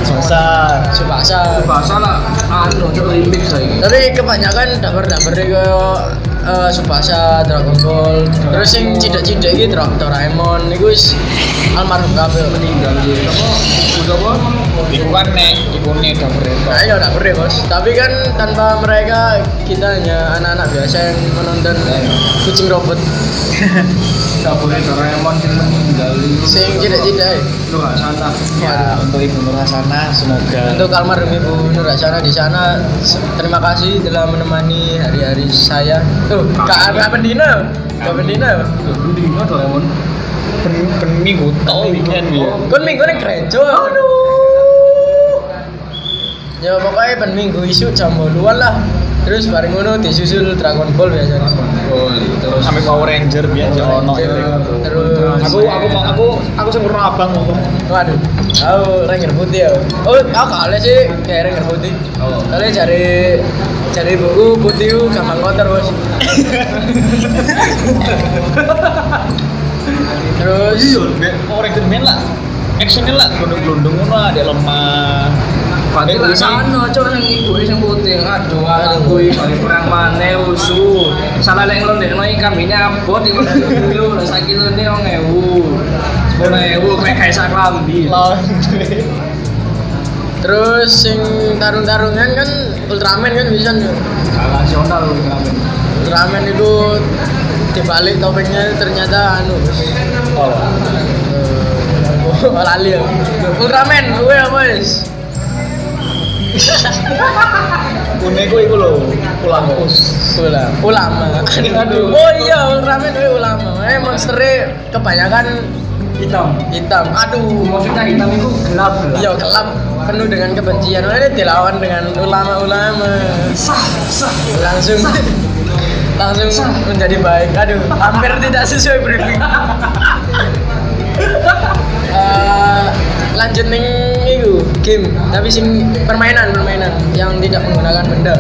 [SPEAKER 3] susah
[SPEAKER 1] Subasa.
[SPEAKER 2] Bahasa lah anu cuk remix saiki.
[SPEAKER 1] Tapi kebanyakan daber-daber koyo eh, Subasa, Dragon Ball. Terus sing cidak-cidak iki Dra- Doraemon niku wis almarhum kabeh meninggal.
[SPEAKER 2] Udah apa?
[SPEAKER 3] iku kan nek iku nek gak berita
[SPEAKER 1] Nah, iya tak beri bos. Tapi kan tanpa mereka kita hanya anak-anak biasa yang menonton kucing robot.
[SPEAKER 2] Gak boleh Doraemon sing meninggal.
[SPEAKER 1] Sing cidak-cidak.
[SPEAKER 2] Lu gak salah.
[SPEAKER 3] ya untuk ibu nur hasanah semoga
[SPEAKER 1] Untuk almarhum Ibu Nur Hasanah di sana, se- terima kasih telah menemani hari-hari saya. Tuh, Kak Kak Pendina, Kak Pendina.
[SPEAKER 2] Lu di mana Doraemon?
[SPEAKER 3] ben ben minggu tau weekend ya
[SPEAKER 1] Kon minggu ini gereja. Aduh. Ya pokoknya ben minggu isu jam 8-an lah. Terus bareng ngono disusul Dragon Ball biasanya.
[SPEAKER 2] Oh, iya. Terus
[SPEAKER 3] sampai Power Ranger biar jono
[SPEAKER 1] Iya, Terus
[SPEAKER 3] Ya, aku aku aku aku sempurna abang ngomong
[SPEAKER 1] Waduh, aku ranger putih ya. Oh, aku kali sih kayak ranger putih.
[SPEAKER 2] Oh.
[SPEAKER 1] Kali cari cari buku putih ku gampang kotor bos. Terus
[SPEAKER 3] Iya. Power Ranger main lah actionnya lah gelundung-gelundung ngono lah dia lemah
[SPEAKER 2] Pati
[SPEAKER 3] Ini-
[SPEAKER 2] lah Eh, kan? sana cok yang ibu yang putih Aduh aku
[SPEAKER 1] Aduh.
[SPEAKER 2] ini kurang mana musuh Salah yang lo dekno ikan ini abot Ibu dulu rasa kilo ini orang ewu Sepuluh ewu *laughs* kayak kaisa klambi
[SPEAKER 3] *laughs* lawan
[SPEAKER 1] terus sing tarung-tarungan kan Ultraman kan bisa nih.
[SPEAKER 2] Gak rasional lu ngamen
[SPEAKER 1] Ultraman itu dibalik topiknya ternyata anu bos. *laughs*
[SPEAKER 3] oh
[SPEAKER 1] Oh, lali ya. Ultraman, gue apa bos? *laughs*
[SPEAKER 3] Unek gue iku lho pulang kos
[SPEAKER 1] Ulama. Ulama.
[SPEAKER 3] Aduh.
[SPEAKER 1] Oh iya, ulama itu ulama. Eh monsternya kebanyakan
[SPEAKER 2] Hitam
[SPEAKER 1] hitam. Aduh.
[SPEAKER 2] Maksudnya hitam itu gelap gelap
[SPEAKER 1] Iya gelap penuh dengan kebencian. Oleh ini dilawan dengan ulama-ulama.
[SPEAKER 2] Sah sah
[SPEAKER 1] Langsung langsung menjadi baik. Aduh, hampir tidak sesuai briefing. Eh, lanjut ning iku game tapi sing permainan permainan yang tidak menggunakan benda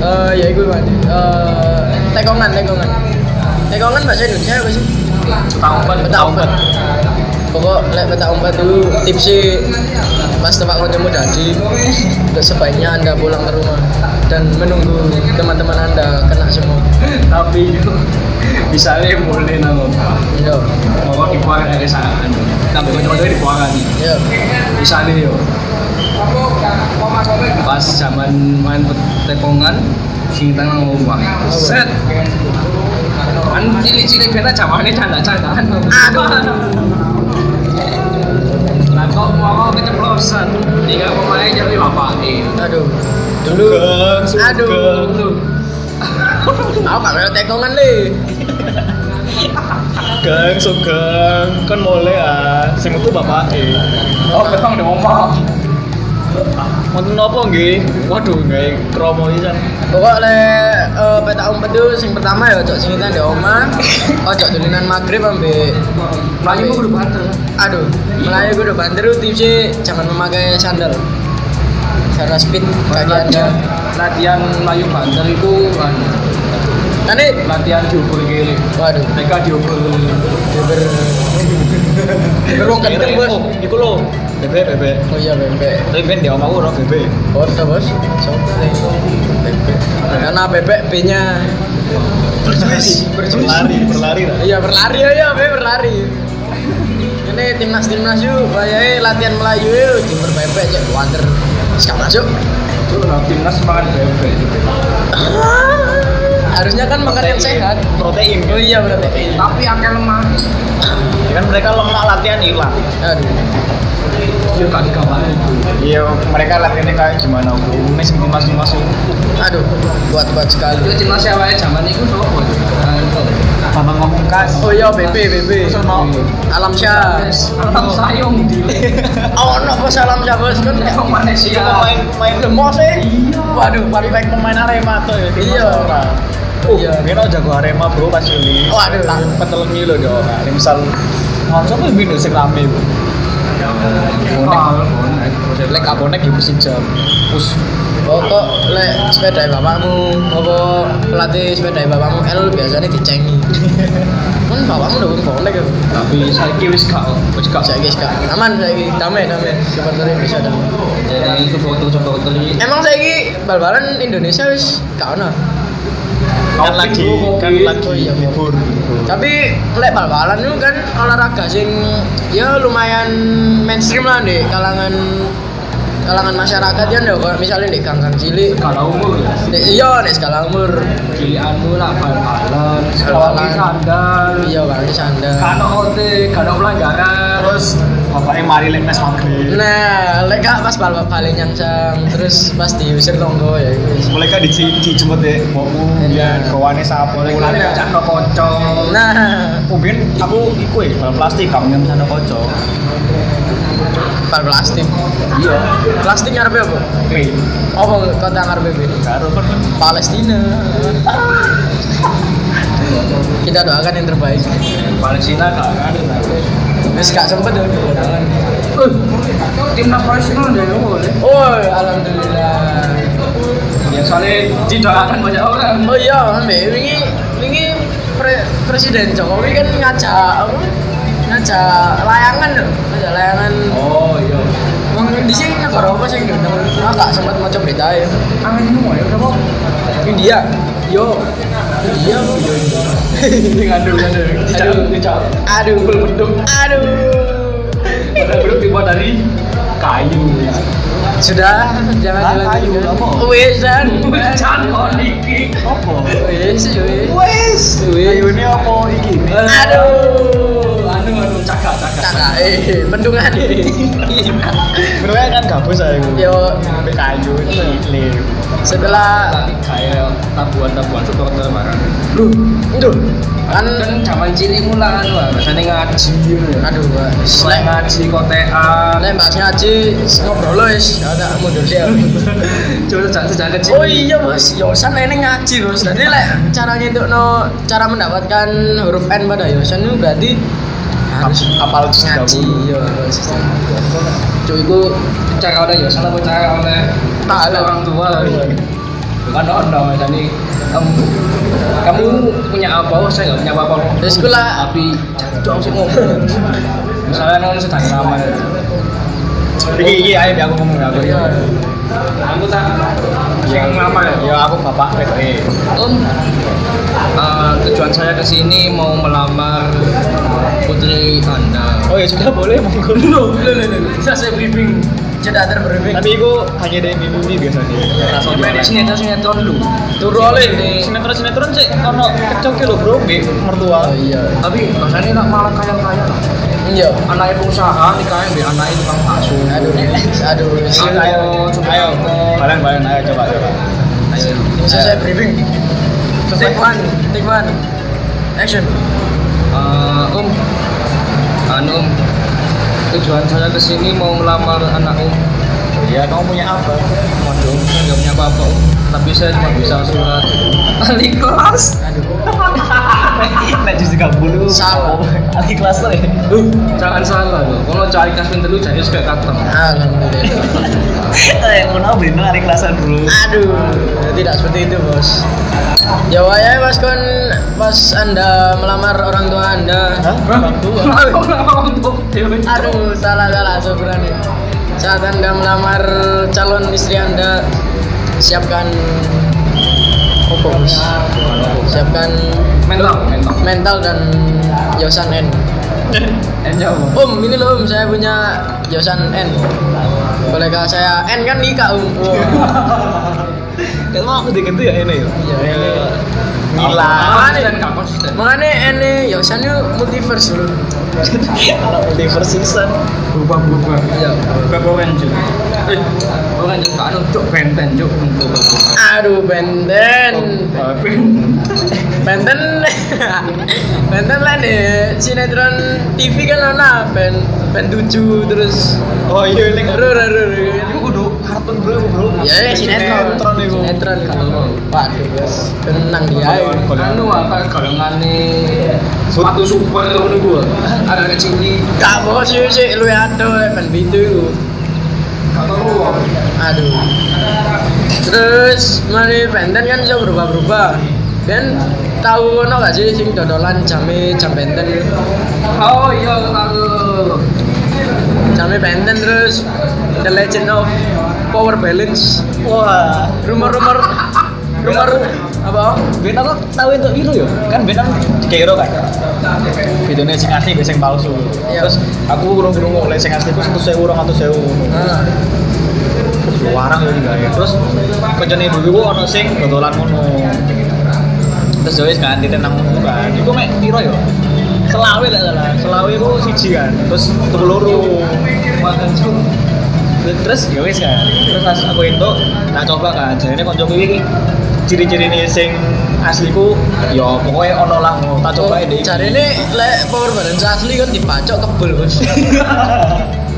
[SPEAKER 1] Eh, ya iku Pak. Eh, tekongan tekongan tekongan bahasa Indonesia apa sih
[SPEAKER 2] Tahu kan
[SPEAKER 1] petak umpet pokok lek petak umpet dulu tipsi pas tempat konjemu dadi untuk sebaiknya anda pulang ke rumah dan menunggu teman-teman anda kena semua
[SPEAKER 2] Tapi *laughs* itu Misalnya boleh nanggung
[SPEAKER 1] yo
[SPEAKER 2] Kalau dikeluarkan dari sana Tapi kalau dikeluarkan nih
[SPEAKER 1] yo
[SPEAKER 2] misalnya yo pas zaman main tekongan sing tangan ngomong set kan cilik-cilik beta zamane canda-candaan
[SPEAKER 1] Aduh.
[SPEAKER 2] lah kok mau keceplosan tiga pemain jadi bapak nih
[SPEAKER 1] aduh
[SPEAKER 3] dulu
[SPEAKER 1] Aduh. aku gak melu tekongan le
[SPEAKER 3] gang sugeng kan mulai ah sing metu bapak e
[SPEAKER 2] oh ketong udah ngomong
[SPEAKER 3] Wonten apa nggih? Waduh, nggih kromo pisan.
[SPEAKER 1] Pokok le eh, peta umpet itu sing pertama ya ojo sinitan di oma, ojo dolinan maghrib ambe
[SPEAKER 2] Melayu gue udah banter.
[SPEAKER 1] aduh, Melayu gue udah banter tipsnya jangan memakai sandal. Karena speed kaki Anda.
[SPEAKER 2] Latihan, latihan Melayu banter itu kan,
[SPEAKER 1] Nanti
[SPEAKER 2] latihan diukur kiri.
[SPEAKER 1] waduh,
[SPEAKER 2] Mereka diukur
[SPEAKER 1] beber beruang kenceng bos.
[SPEAKER 3] Oh, Iku lho, bebek bebek.
[SPEAKER 1] Oh iya bebek.
[SPEAKER 3] Tapi ben dia omahku ora bebek.
[SPEAKER 1] Oh iya bos. Sobat. Bebek. Karena bebek B-nya berjuis,
[SPEAKER 3] *laughs* Berlari, berlari lah.
[SPEAKER 1] Iya berlari ya, ya be berlari. Ini timnas timnas yuk, bayai latihan Melayu yuk, timur bebek cek wander. Sekarang masuk.
[SPEAKER 2] itu lah timnas makan bebek.
[SPEAKER 1] Ah, Harusnya kan makan yang sehat.
[SPEAKER 3] Protein.
[SPEAKER 1] Oh iya berarti.
[SPEAKER 2] Tapi akan lemah.
[SPEAKER 3] Ya kan mereka lemak latihan hilang.
[SPEAKER 1] Aduh.
[SPEAKER 2] Dia gak dikawalin itu.
[SPEAKER 3] Iya, mereka latihannya kayak gimana? Umumnya sing mas masuk.
[SPEAKER 1] Aduh, kuat-kuat
[SPEAKER 2] Itu
[SPEAKER 1] sekali.
[SPEAKER 2] timnas siapa ya zaman itu sopo?
[SPEAKER 3] Bambang ngomong kas.
[SPEAKER 1] Oh iya, BB, BB.
[SPEAKER 3] Terus mau.
[SPEAKER 1] Alam Syah.
[SPEAKER 2] Alam *laughs* sayung di.
[SPEAKER 1] Oh, no, bos Alam Syah, bos. Kan
[SPEAKER 2] Yang Malaysia.
[SPEAKER 3] Iya, main main
[SPEAKER 1] demo sih.
[SPEAKER 3] Waduh, paling baik pemain Arema tuh ya. di
[SPEAKER 1] Iya.
[SPEAKER 3] masa orang.
[SPEAKER 1] Oh,
[SPEAKER 3] Iya, Oh, kira jago Arema bro pas ini.
[SPEAKER 1] Waduh.
[SPEAKER 3] tak petelengi lho dia orang. Ini misal ngoco tuh bindu sing rame bu. Lek abonek ya mesti jam. Us.
[SPEAKER 1] Pokok Oh, lek sepeda bapakmu, apa pelatih sepeda bapakmu L biasanya
[SPEAKER 3] *laughs*
[SPEAKER 1] dicengi. Kan bapakmu udah pun bonek ya.
[SPEAKER 2] Tapi saya wis gak wis gak
[SPEAKER 1] Saya guys kak, aman saya guys, damai damai. Supporternya bisa damai.
[SPEAKER 2] jadi supporter-supporter ini
[SPEAKER 1] Emang saya guys bal-balan Indonesia wis gak ono.
[SPEAKER 3] Kan lagi kan
[SPEAKER 1] Oh,
[SPEAKER 3] lagi
[SPEAKER 1] iya, Bu.
[SPEAKER 3] libur.
[SPEAKER 1] Tapi lek bal-balan itu kan olahraga sing ya lumayan mainstream lah di kalangan kalangan masyarakat ya ndak kok misalnya di gang-gang cilik.
[SPEAKER 2] kalau umur ya
[SPEAKER 1] Di- Iya, di skala umur.
[SPEAKER 2] gilianmu lah bal-balan
[SPEAKER 1] Bal-balan.
[SPEAKER 2] sekolahan sandal
[SPEAKER 1] Iya, Bang, di sandal.
[SPEAKER 2] kano OT kano pelanggaran
[SPEAKER 3] Terus bapaknya mari lek mes maghrib.
[SPEAKER 1] Nah, lek gak pas bal paling nyangsang terus pas diusir tonggo ya wis.
[SPEAKER 3] Mulai kan dijemput deh, bomu,
[SPEAKER 1] Iya.
[SPEAKER 3] ya, kawannya
[SPEAKER 2] Oh,
[SPEAKER 3] sapo,
[SPEAKER 2] mulai kan
[SPEAKER 3] mulai
[SPEAKER 2] kacang no kocok
[SPEAKER 1] Nah,
[SPEAKER 3] Mungkin aku iku ya, bal plastik kamu yang sana kocok.
[SPEAKER 1] bal plastik.
[SPEAKER 3] Iya.
[SPEAKER 1] Plastik ngarepe apa?
[SPEAKER 3] Oke.
[SPEAKER 1] Apa kota ngarepe be?
[SPEAKER 3] Karo kan
[SPEAKER 1] Palestina. Kita doakan yang terbaik.
[SPEAKER 2] Palestina gak ada
[SPEAKER 1] Wis gak sempet ya doakan.
[SPEAKER 2] timnas Palestina udah boleh
[SPEAKER 1] Oh, alhamdulillah.
[SPEAKER 2] ya soalnya tidak akan banyak orang
[SPEAKER 1] Oh iya, Mbak, wingi wingi pre- Presiden Jokowi kan ngajak apa? Ngajak layangan loh, ngajak layangan.
[SPEAKER 2] oh iya
[SPEAKER 1] Wong di sini negara apa sih gendeng? Ah gak sempat maca berita ya.
[SPEAKER 2] angin semua ya kenapa
[SPEAKER 1] India. Yo. India. Yo.
[SPEAKER 2] ini *laughs* ngadu ngadu
[SPEAKER 1] Aduh.
[SPEAKER 2] aduh dijak
[SPEAKER 1] Aduh.
[SPEAKER 2] Belum.
[SPEAKER 1] Aduh.
[SPEAKER 2] padahal belum dibuat dari kayu
[SPEAKER 1] Sudah, jangan
[SPEAKER 3] Ah,
[SPEAKER 1] dilanjutkan.
[SPEAKER 3] ayo, apa?
[SPEAKER 1] Wes dan.
[SPEAKER 2] Jangan kok dikit
[SPEAKER 3] apa?
[SPEAKER 1] Wes, wes.
[SPEAKER 3] Wes,
[SPEAKER 1] Wes.
[SPEAKER 3] Iya, ini apa iki?
[SPEAKER 1] Aduh.
[SPEAKER 2] anu anu cagak cagak
[SPEAKER 1] Kakak, eh, bendungan eh.
[SPEAKER 3] Bener kan gabus saya iku.
[SPEAKER 1] Yo,
[SPEAKER 3] Sampai kayu ini.
[SPEAKER 1] setelah
[SPEAKER 2] tapi kayak tabuan tabuan supporter barang
[SPEAKER 1] lu, aduh, kan,
[SPEAKER 2] kan zaman cilik mulan lah biasanya ngaji
[SPEAKER 1] aduh,
[SPEAKER 2] selain
[SPEAKER 1] selain
[SPEAKER 2] ngaji kotean
[SPEAKER 1] Nek bahas ngaji, ngobrol wis, gak tak mundur sih
[SPEAKER 2] coba sejak sejak kecil
[SPEAKER 1] Oh iya bos, Yosan ini ngaji bos. Jadi lek caranya untuk no cara mendapatkan huruf N pada Yosan itu berarti harus
[SPEAKER 3] Apal
[SPEAKER 1] ngaji.
[SPEAKER 3] 30.
[SPEAKER 1] Iya bos. Cuy gue
[SPEAKER 2] cara oleh ya salah cara oleh
[SPEAKER 1] Tak ada.
[SPEAKER 2] orang tua iya. bukan orang dong jadi kamu kamu punya apa oh, saya nggak punya apa apa
[SPEAKER 1] dari sekolah
[SPEAKER 2] tapi
[SPEAKER 1] cok sih ngomong.
[SPEAKER 2] misalnya non sedang lama
[SPEAKER 3] Iki iki ayo biar aku ngomong biar aku.
[SPEAKER 1] Iya.
[SPEAKER 2] aku tak yang lama ya
[SPEAKER 3] Ya aku bapak PKE.
[SPEAKER 2] Om, eh, tujuan saya ke sini mau melamar putri Anda.
[SPEAKER 3] Oh ya sudah boleh monggo.
[SPEAKER 1] Loh, loh, loh, loh. Bisa saya briefing. Cedak terbriefing.
[SPEAKER 3] Tapi iku Iya, hanya dari mimpi biasanya. Langsung
[SPEAKER 2] Sampai di
[SPEAKER 3] jualan.
[SPEAKER 2] sini ada sinetron dulu.
[SPEAKER 1] Turu oleh.
[SPEAKER 3] Sinetron-sinetron sih ono kecoki lho bro, Mbak mertua.
[SPEAKER 1] Oh iya.
[SPEAKER 2] Tapi bahasanya nggak malah kaya kaya lah.
[SPEAKER 1] Iya.
[SPEAKER 2] Anaknya pengusaha, nikahnya ambil anaknya tukang bakso.
[SPEAKER 1] Aduh, aduh.
[SPEAKER 2] Ayo, coba.
[SPEAKER 3] Ayo, bareng-bareng ayo coba coba.
[SPEAKER 2] Ayo.
[SPEAKER 1] Bisa saya briefing. Take one, take one. Action.
[SPEAKER 2] Eh, om, anu om, tujuan saya ke sini mau melamar anak om.
[SPEAKER 3] ya kamu punya apa
[SPEAKER 2] Waduh, saya nggak punya apa-apa. Tapi saya cuma bisa surat.
[SPEAKER 3] ahli kelas aduh nah justru gak bulu
[SPEAKER 1] Salah.
[SPEAKER 3] ahli kelas tuh ya
[SPEAKER 2] Jangan salah loh. Kalau cari kas pintu jadi suka kater.
[SPEAKER 1] Alhamdulillah.
[SPEAKER 3] eh mau nau bener ahli kelasan dulu
[SPEAKER 1] Aduh, ya tidak seperti itu bos. Jawabnya mas kon pas anda melamar orang tua anda.
[SPEAKER 3] orang tua
[SPEAKER 1] Aduh, salah salah sebenarnya. Saat anda melamar calon istri anda, siapkan apa bos? Siapkan
[SPEAKER 2] Mental, mental.
[SPEAKER 1] mental dan yosan N.
[SPEAKER 2] Enjau.
[SPEAKER 1] Om, ini loh om, saya punya yosan N. Kolega saya N kan nikah om.
[SPEAKER 3] kalau aku diganti ya ini ya
[SPEAKER 1] Iya.
[SPEAKER 3] gila
[SPEAKER 2] Apaan dan nggak konsisten.
[SPEAKER 1] Makanya ini yosan yuk multiverse dulu.
[SPEAKER 3] anak multiverse season
[SPEAKER 2] Berubah-berubah.
[SPEAKER 1] Iya.
[SPEAKER 2] Berapa orang Cuk? Eh, orang Cuk, tak anu Cuk, benten Cuk. Berubah-berubah.
[SPEAKER 1] Aduh Benten
[SPEAKER 2] Eh, ben-
[SPEAKER 1] Benten *laughs* Benten lah nih Sinetron TV kan ana Ben Ben 7 terus
[SPEAKER 3] oh iya ini
[SPEAKER 1] Rur rur
[SPEAKER 3] ini kudu kartun bro bro
[SPEAKER 1] Ya ya sinetron
[SPEAKER 3] sinetron itu
[SPEAKER 1] Sinetron
[SPEAKER 2] Kalau mau.
[SPEAKER 1] Waduh guys Tenang dia
[SPEAKER 2] Anu apa golongane sepatu super ngono gua. Ada kecil di
[SPEAKER 1] Gak bos sih sih Lu ya aduh Ben itu
[SPEAKER 2] atau lu.
[SPEAKER 1] Aduh Terus Mari Benten kan bisa berubah-berubah Dan tahu no gak sih sing dodolan jame jam Benten
[SPEAKER 2] Oh iya tahu.
[SPEAKER 1] Jamnya Benten terus The Legend of Power Balance
[SPEAKER 3] wah
[SPEAKER 1] rumor-rumor rumor apa
[SPEAKER 3] Ben aku tahu itu biru ya kan Ben aku di Cairo kan videonya sing asli be sing palsu
[SPEAKER 1] Iya.
[SPEAKER 3] terus aku urung urung oleh sing asli itu satu sewu orang atau sewu
[SPEAKER 1] nah,
[SPEAKER 3] warang lagi gak ya terus kencana ibu ibu ono sing dodolan ngono terus jauh kan di tenang ngono kan iku mek piro yo selawe lah salah selawe iku siji kan terus tuku loro makan cu. terus ya wis kan terus pas aku itu tak coba kan jarine kancaku iki ciri-ciri ini sing asliku yo pokoknya ono lah ngono. tak coba ini
[SPEAKER 1] cari ah, ini lek power balance asli kan dipacok kebel bos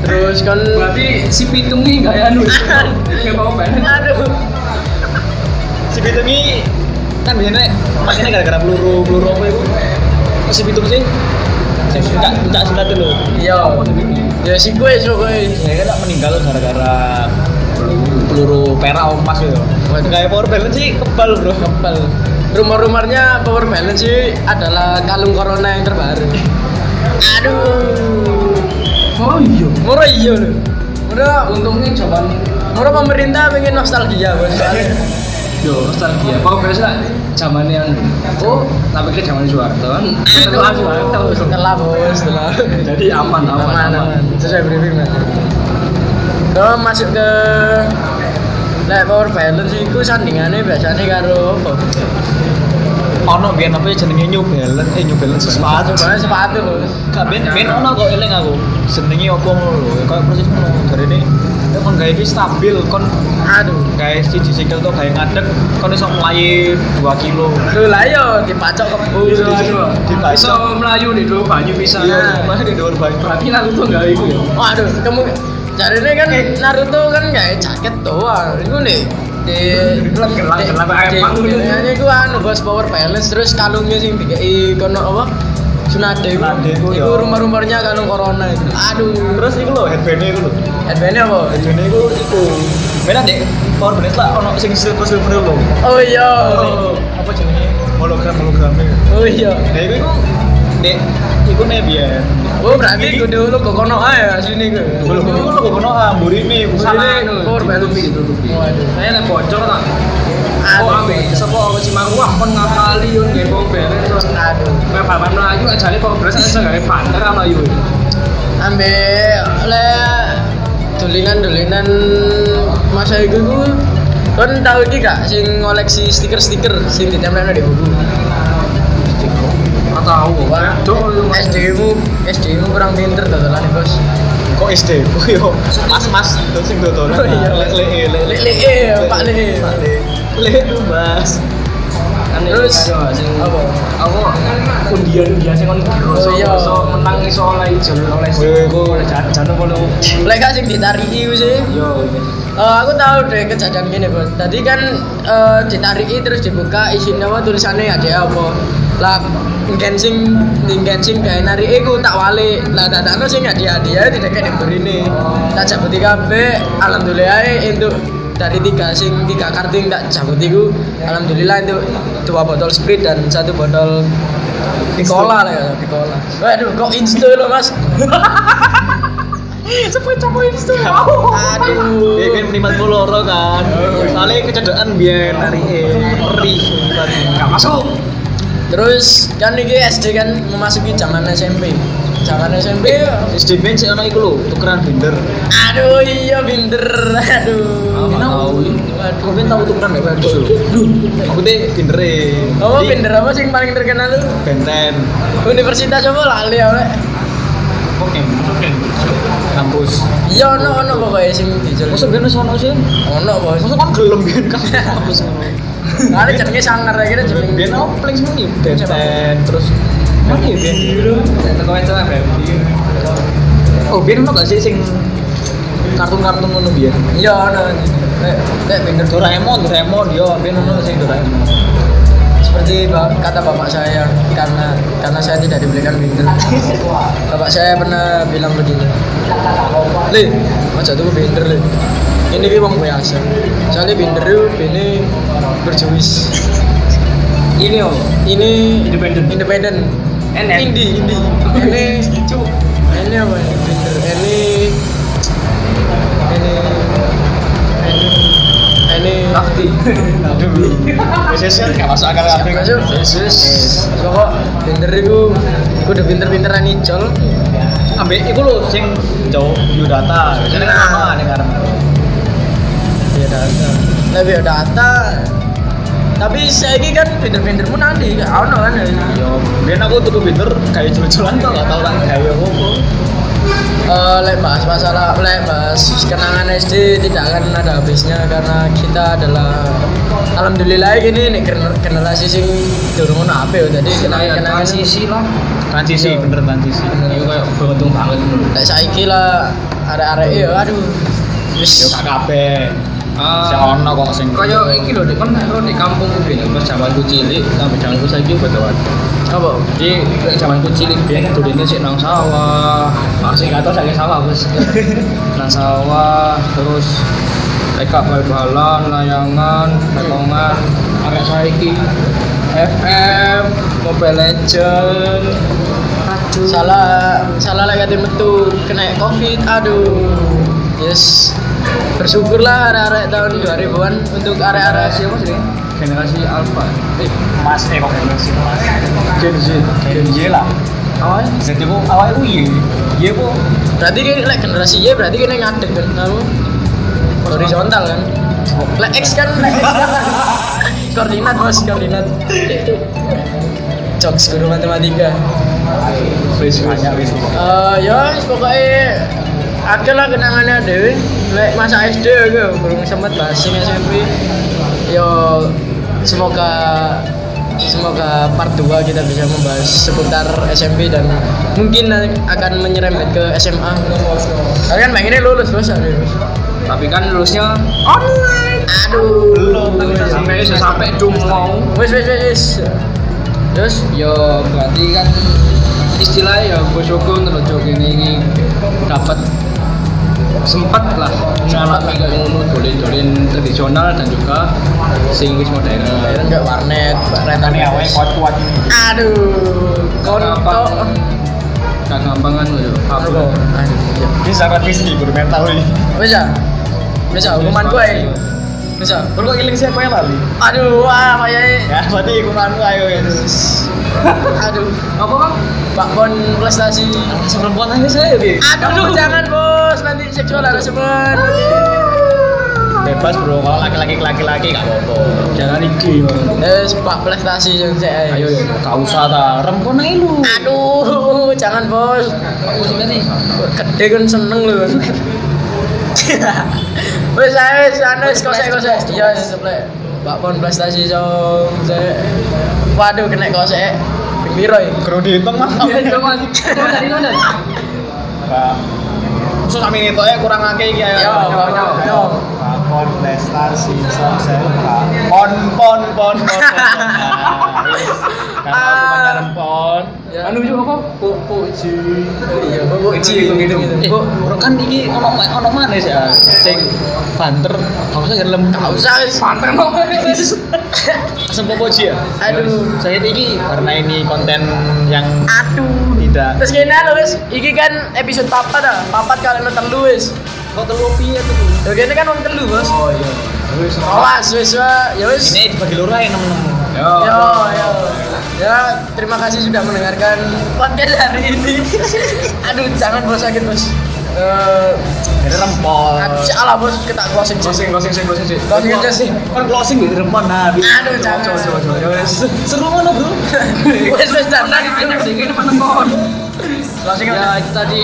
[SPEAKER 1] terus kan
[SPEAKER 2] Berarti si pitung nih gak ya anu. Kayak bawa benten.
[SPEAKER 1] aduh
[SPEAKER 3] si pitung ini kan biasanya makanya gara-gara peluru peluru apa itu si pitung sih sing suka suka suka dulu
[SPEAKER 1] iya ya si gue si gue
[SPEAKER 3] saya kan tak meninggal gara-gara peluru perak ompas gitu
[SPEAKER 1] Waduh.
[SPEAKER 3] kayak power balance sih kebal bro
[SPEAKER 1] kebel rumor-rumornya power balance sih adalah kalung corona yang terbaru aduh
[SPEAKER 2] Oh iya.
[SPEAKER 1] murah iya loh murah
[SPEAKER 2] Untungnya jawaban
[SPEAKER 1] murah pemerintah pengen nostalgia bos
[SPEAKER 2] yo nostalgia. Kalau biasa zaman yang oh, tapi kita zaman Soeharto kan. Setelah Soeharto.
[SPEAKER 1] setelah bos setelah
[SPEAKER 2] Jadi aman, aman, aman.
[SPEAKER 1] aman aman sesuai briefing lah kalau masuk ke Lek power balance itu sandingannya biasanya karo apa?
[SPEAKER 3] ono biar apa ya jenenge new balance eh new balance
[SPEAKER 1] Sepatu,
[SPEAKER 3] sepatu
[SPEAKER 1] sebenarnya sepatu bos.
[SPEAKER 3] Kak Ben, Ben ono kok eling aku. Jenenge opo ngono lho. Kayak proses ngono. Jarene eh, kon gawe iki stabil, kon
[SPEAKER 1] Aduh,
[SPEAKER 3] gawe siji sikil tuh gawe ngadeg, kon iso mlayu 2 kilo.
[SPEAKER 1] lu lah yo dipacok kebu.
[SPEAKER 2] Iya, iya.
[SPEAKER 3] Dipacok.
[SPEAKER 2] Bisa melayu di dua banyu bisa.
[SPEAKER 3] Iya, mah di dhuwur banyu.
[SPEAKER 2] Berarti Naruto nggak itu ya?
[SPEAKER 1] Waduh, kamu Oh, cari ini kan Naruto kan nggak jaket doang. Itu nih di
[SPEAKER 2] Gelap, gelap, gelap, emang.
[SPEAKER 1] ini gua anu bos power balance terus kalungnya sih tiga i kono apa Sunade itu
[SPEAKER 3] Sunade iku,
[SPEAKER 1] itu
[SPEAKER 3] yo.
[SPEAKER 1] rumah-rumahnya kalung corona itu aduh
[SPEAKER 3] Terus iku lho headband iku lho.
[SPEAKER 1] advance apa
[SPEAKER 3] Headband iku iku. Ben Dek, power balance lah ono sing silver silver lho.
[SPEAKER 1] oh iya
[SPEAKER 3] Sing Apa jenenge? Hologram hologram.
[SPEAKER 1] oh iya
[SPEAKER 3] Nah iku iku Dek, iku nek biyen.
[SPEAKER 1] Oh berarti gue dulu ke kono aja sini gue.
[SPEAKER 3] Lho, iku lho kono amburine
[SPEAKER 2] Sama
[SPEAKER 1] Ini
[SPEAKER 2] anu,
[SPEAKER 1] power
[SPEAKER 2] ditutupi,
[SPEAKER 1] balance.
[SPEAKER 2] ditutupi.
[SPEAKER 1] Waduh.
[SPEAKER 2] Saya nek bocor tak. Oh,
[SPEAKER 1] Aduh.
[SPEAKER 2] ambil sapa aku cimaru wah kon ngakali yo nggih kok beres.
[SPEAKER 1] Aduh.
[SPEAKER 2] Kayak bapak melayu ajane kok beres aja gawe banter melayu.
[SPEAKER 1] Ambe le dolingan-dolingan masa itu gue kan tahu iki gak sing ngoleksi stiker-stiker sing ditempelno di buku.
[SPEAKER 2] Ora tahu. Waduh.
[SPEAKER 1] SD mu, SD mu kurang pinter dodolane, Bos.
[SPEAKER 3] *laughs* kok SD ku yo mas-mas itu sing dodolan
[SPEAKER 1] Oh iya.
[SPEAKER 3] lek lek lek
[SPEAKER 1] Lek-lek, Pak Lek.
[SPEAKER 3] lek lek mas
[SPEAKER 2] Kan
[SPEAKER 1] Terus, apa?
[SPEAKER 2] Aku undian-undian sing kon digoso
[SPEAKER 1] Oh, iya.
[SPEAKER 2] iso menang iso oleh jalur oleh
[SPEAKER 3] Wih.
[SPEAKER 2] oleh jan- jantung kono.
[SPEAKER 1] Lek gak sing ditariki ku sih.
[SPEAKER 2] Yo.
[SPEAKER 1] Eh, aku tahu deh kejadian gini bos. Tadi kan eh, ditariki terus dibuka izin nama tulisannya ada apa? Lah ngensing ngensing gawe narike ku tak wale. Lah tak takno sing hadiah hadiah tidak kene berine. Tak jabuti kabeh alhamdulillah untuk dari tiga sing tiga karting tak jabuti ku alhamdulillah itu dua botol sprit dan satu botol Nikola lah ya, Nikola. Waduh, kok insta lo mas? *laughs* Sepoi coba insta. Aduh.
[SPEAKER 3] Dia kan menimat mulu loro kan. Soalnya kecederaan biar hari perih.
[SPEAKER 2] Gak masuk.
[SPEAKER 1] Terus kan ini SD kan memasuki zaman SMP. Zaman SMP.
[SPEAKER 3] SD band sih anak itu loh, tukeran binder.
[SPEAKER 1] Aduh iya binder. Aduh.
[SPEAKER 2] Apa tahu?
[SPEAKER 1] Aduh.
[SPEAKER 3] Kau tahu tukeran gak bagus loh. Aku teh binder
[SPEAKER 1] Apa binder apa sih yang paling terkenal tuh?
[SPEAKER 3] Benten.
[SPEAKER 1] Universitas apa lali ya oleh?
[SPEAKER 3] Oke. Kampus.
[SPEAKER 1] Iya ono ono pokoknya sing dijual.
[SPEAKER 3] Masa band sono sih?
[SPEAKER 1] Ono bos. *laughs*
[SPEAKER 3] Masa kan gelem biar kampus.
[SPEAKER 1] Ada jenenge sangar akhirnya jenenge.
[SPEAKER 3] Biar aku paling seneng nih benten terus. Mana ya biar?
[SPEAKER 2] Tekan aja lah, Beb.
[SPEAKER 3] Oh biar emang gak sih sing kartun-kartun ngono biar?
[SPEAKER 1] Iya ono. Nek nek binder tuh.
[SPEAKER 3] Doraemon, Doraemon, yo, biar ngono sing Doraemon.
[SPEAKER 1] seperti ba- kata bapak saya karena karena saya tidak dibelikan binder bapak saya pernah bilang begini le aja tuh binder le ini ki wong biasa soalnya binder itu ini berjuis ini oh ini
[SPEAKER 2] Independen.
[SPEAKER 1] independen
[SPEAKER 2] Enak.
[SPEAKER 1] indi indi ini ini apa ini binder ini ini ini ini
[SPEAKER 2] Nafti.
[SPEAKER 3] Yesus kan gak masuk akal
[SPEAKER 1] Siapa masuk?
[SPEAKER 3] Yesus.
[SPEAKER 1] Pokok pinter iku iku udah pinter-pinteran ijol.
[SPEAKER 3] Ambek iku lho sing jauh view data. Biasanya kan
[SPEAKER 1] Nah,
[SPEAKER 3] sama ning karep. Iya data.
[SPEAKER 1] Lebih data. Tapi saya ini kan pinter-pinter pun nanti, gak ono kan ya.
[SPEAKER 3] Yo, biyen aku tuku binder kayak jul-julan tau gak tau kan gawe opo.
[SPEAKER 1] Eh, lek bahas masalah, lek bahas kenangan SD tidak akan ada habisnya karena kita adalah alhamdulillah ini nih gener- generasi sing durung ono apa ya
[SPEAKER 3] Iya,
[SPEAKER 1] tadi kenangan-kenangan
[SPEAKER 2] Transisi lah.
[SPEAKER 3] Transisi, bener transisi.
[SPEAKER 2] Ini kayak beruntung banget dulu.
[SPEAKER 1] Lek saiki lah arek-arek ya aduh.
[SPEAKER 3] Yo
[SPEAKER 1] Wis
[SPEAKER 3] gak kabeh.
[SPEAKER 1] Eh,
[SPEAKER 3] Sing ono kok sing
[SPEAKER 2] Kaya iki lho, Dek, kan aku di kampung iki lho, pas jamanku cilik sampai jamanku saiki betul.
[SPEAKER 1] apa?
[SPEAKER 2] Jadi kayak zamanku cilik biyen dolennya sik nang sawah. Masih gak tau saking sawah
[SPEAKER 3] *laughs*
[SPEAKER 2] wis. nang sawah terus mereka bal-balan, layangan, petongan, arek saiki Eh, FM, Mobile Legend. Aduh.
[SPEAKER 1] salah salah lagi ada metu kena covid aduh yes bersyukurlah arek-arek tahun 2000-an untuk arek-arek
[SPEAKER 2] Generasi apa sih? Generasi Alpha. Eh,
[SPEAKER 3] Mas eh kok generasi Mas.
[SPEAKER 2] Gen Z.
[SPEAKER 3] Gen Y lah.
[SPEAKER 2] Awalnya
[SPEAKER 3] Z itu awal itu Y. Y apa?
[SPEAKER 1] Oh, iya. berarti kini lek generasi Y berarti kini ngadeg kan kamu horizontal kan lek X kan lek X kan koordinat bos koordinat jokes guru matematika
[SPEAKER 3] Wis banyak wis.
[SPEAKER 1] Eh ya wis, pokoknya ada lah kenangannya dewe lek masa SD ya belum sempat bahas sing SMP yo semoga semoga part 2 kita bisa membahas seputar SMP dan mungkin akan menyerempet ke SMA kalian pengennya lulus bos aduh.
[SPEAKER 2] tapi kan lulusnya
[SPEAKER 1] aduh
[SPEAKER 3] Belum, belum.
[SPEAKER 2] sampai sampai dung mau.
[SPEAKER 1] wis wis wis wis terus
[SPEAKER 2] Yo Ya, berarti kan istilahnya ya bersyukur terus ini ini dapat sempat lah mengalami kayak ngono dolin-dolin tradisional dan juga sing wis modern.
[SPEAKER 1] kalian gak warnet rentan
[SPEAKER 3] Ini awalnya Ya, kuat-kuat ini.
[SPEAKER 1] aduh
[SPEAKER 2] Gampang.
[SPEAKER 1] kontok
[SPEAKER 2] Gak gampang kan yo.
[SPEAKER 1] Aduh,
[SPEAKER 2] Kabel.
[SPEAKER 1] aduh, iya.
[SPEAKER 3] Bisa revisi guru mental ini.
[SPEAKER 1] Bisa. Bisa hukuman gue. Bisa.
[SPEAKER 3] Nah, Kalau kok iling siapa ya, yang lali?
[SPEAKER 1] Aduh, wah kayaknya.
[SPEAKER 3] Ya, berarti hukumanmu ayo ya.
[SPEAKER 1] Aduh,
[SPEAKER 2] Apa kok?
[SPEAKER 1] Pak Bon prestasi.
[SPEAKER 3] Seperempuan aja saya deh.
[SPEAKER 1] Aduh, jangan bos, nanti seksual harassment.
[SPEAKER 3] Bebas bro, kalau laki-laki laki-laki nggak apa-apa.
[SPEAKER 2] Jangan iki. Bang.
[SPEAKER 1] Yes, Pak prestasi yang saya.
[SPEAKER 2] Ayo ya.
[SPEAKER 3] Gak usah ta, perempuan aja lu.
[SPEAKER 1] Aduh, jangan bos.
[SPEAKER 2] Aku sih nih.
[SPEAKER 1] Gede kan seneng lu. Wes ae, anu wes kosek kosek. Iya, seplek. Pak Pon prestasi so saya- Waduh kena kau saya Gembira ya
[SPEAKER 3] Kru dihitung mas.
[SPEAKER 2] tadi kan dari
[SPEAKER 3] Terus kami itu ya kurang akeh iki ayo.
[SPEAKER 1] Yo, yo, yo, yo.
[SPEAKER 4] Lakon prestasi sukses Pak.
[SPEAKER 3] Pon pon pon pon. pon.
[SPEAKER 1] *laughs*
[SPEAKER 3] Nah,
[SPEAKER 1] Ah.
[SPEAKER 3] Karena pacaran pon.
[SPEAKER 2] anu juga apa pu puji
[SPEAKER 1] Iya, kok kok gitu gitu
[SPEAKER 3] Eh,
[SPEAKER 1] Kok
[SPEAKER 3] kan iki ono ono manis ya. Cek banter, gak usah gelem.
[SPEAKER 1] gak usah wis.
[SPEAKER 2] panten mau
[SPEAKER 3] Sempo poji ya.
[SPEAKER 1] Aduh.
[SPEAKER 3] Saya iki karena ini konten yang
[SPEAKER 1] Aduh.
[SPEAKER 3] tidak
[SPEAKER 1] Terus gini lho wis, iki kan episode papat dah. Papat kalian nonton lu wis.
[SPEAKER 3] kok telu piye
[SPEAKER 1] Yo
[SPEAKER 3] tuh?
[SPEAKER 1] kene kan wong telu, Bos.
[SPEAKER 3] Oh iya. Wis.
[SPEAKER 1] Awas wis wa- ya wis.
[SPEAKER 3] Ini dibagi loro ae nem-nem.
[SPEAKER 2] yo
[SPEAKER 1] Yo, yo. Ya, terima kasih sudah mendengarkan podcast hari ini. Aduh, jangan bos sakit, Bos. Eh,
[SPEAKER 3] Jadi rempol.
[SPEAKER 1] uh, Allah bos kita closing
[SPEAKER 2] closing
[SPEAKER 1] closing.
[SPEAKER 2] closing closing closing sih
[SPEAKER 1] Closing aja sih.
[SPEAKER 3] Kan closing di rempol nah. Bi.
[SPEAKER 1] Aduh, jangan.
[SPEAKER 2] coba coba coba
[SPEAKER 3] Se- Seru ngono, Bro.
[SPEAKER 1] Wes wes jangan.
[SPEAKER 2] closing ya itu tadi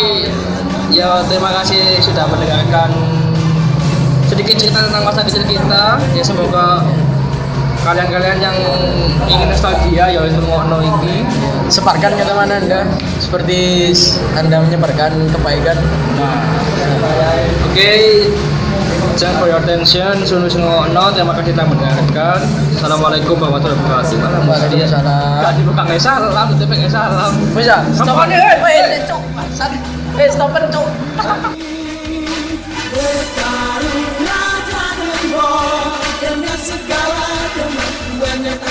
[SPEAKER 2] ya terima kasih sudah mendengarkan sedikit cerita tentang masa kecil kita ya semoga kalian-kalian yang ingin nostalgia ya wis ngono iki
[SPEAKER 1] Separkan ke teman Anda seperti Anda menyebarkan kebaikan.
[SPEAKER 2] Oke, thanks for your attention. Sunu Sungono, terima kasih telah mendengarkan. Assalamualaikum warahmatullahi wabarakatuh. Gak
[SPEAKER 1] Waalaikumsalam.
[SPEAKER 2] dibuka nggak salam, tetep nggak salam.
[SPEAKER 1] Bisa.
[SPEAKER 2] Stop.
[SPEAKER 1] Stop. Eh, cuk. Bangsat. Eh, stopen, cuk.
[SPEAKER 5] Bertarunglah dengan roh, dengan segala kemampuan yang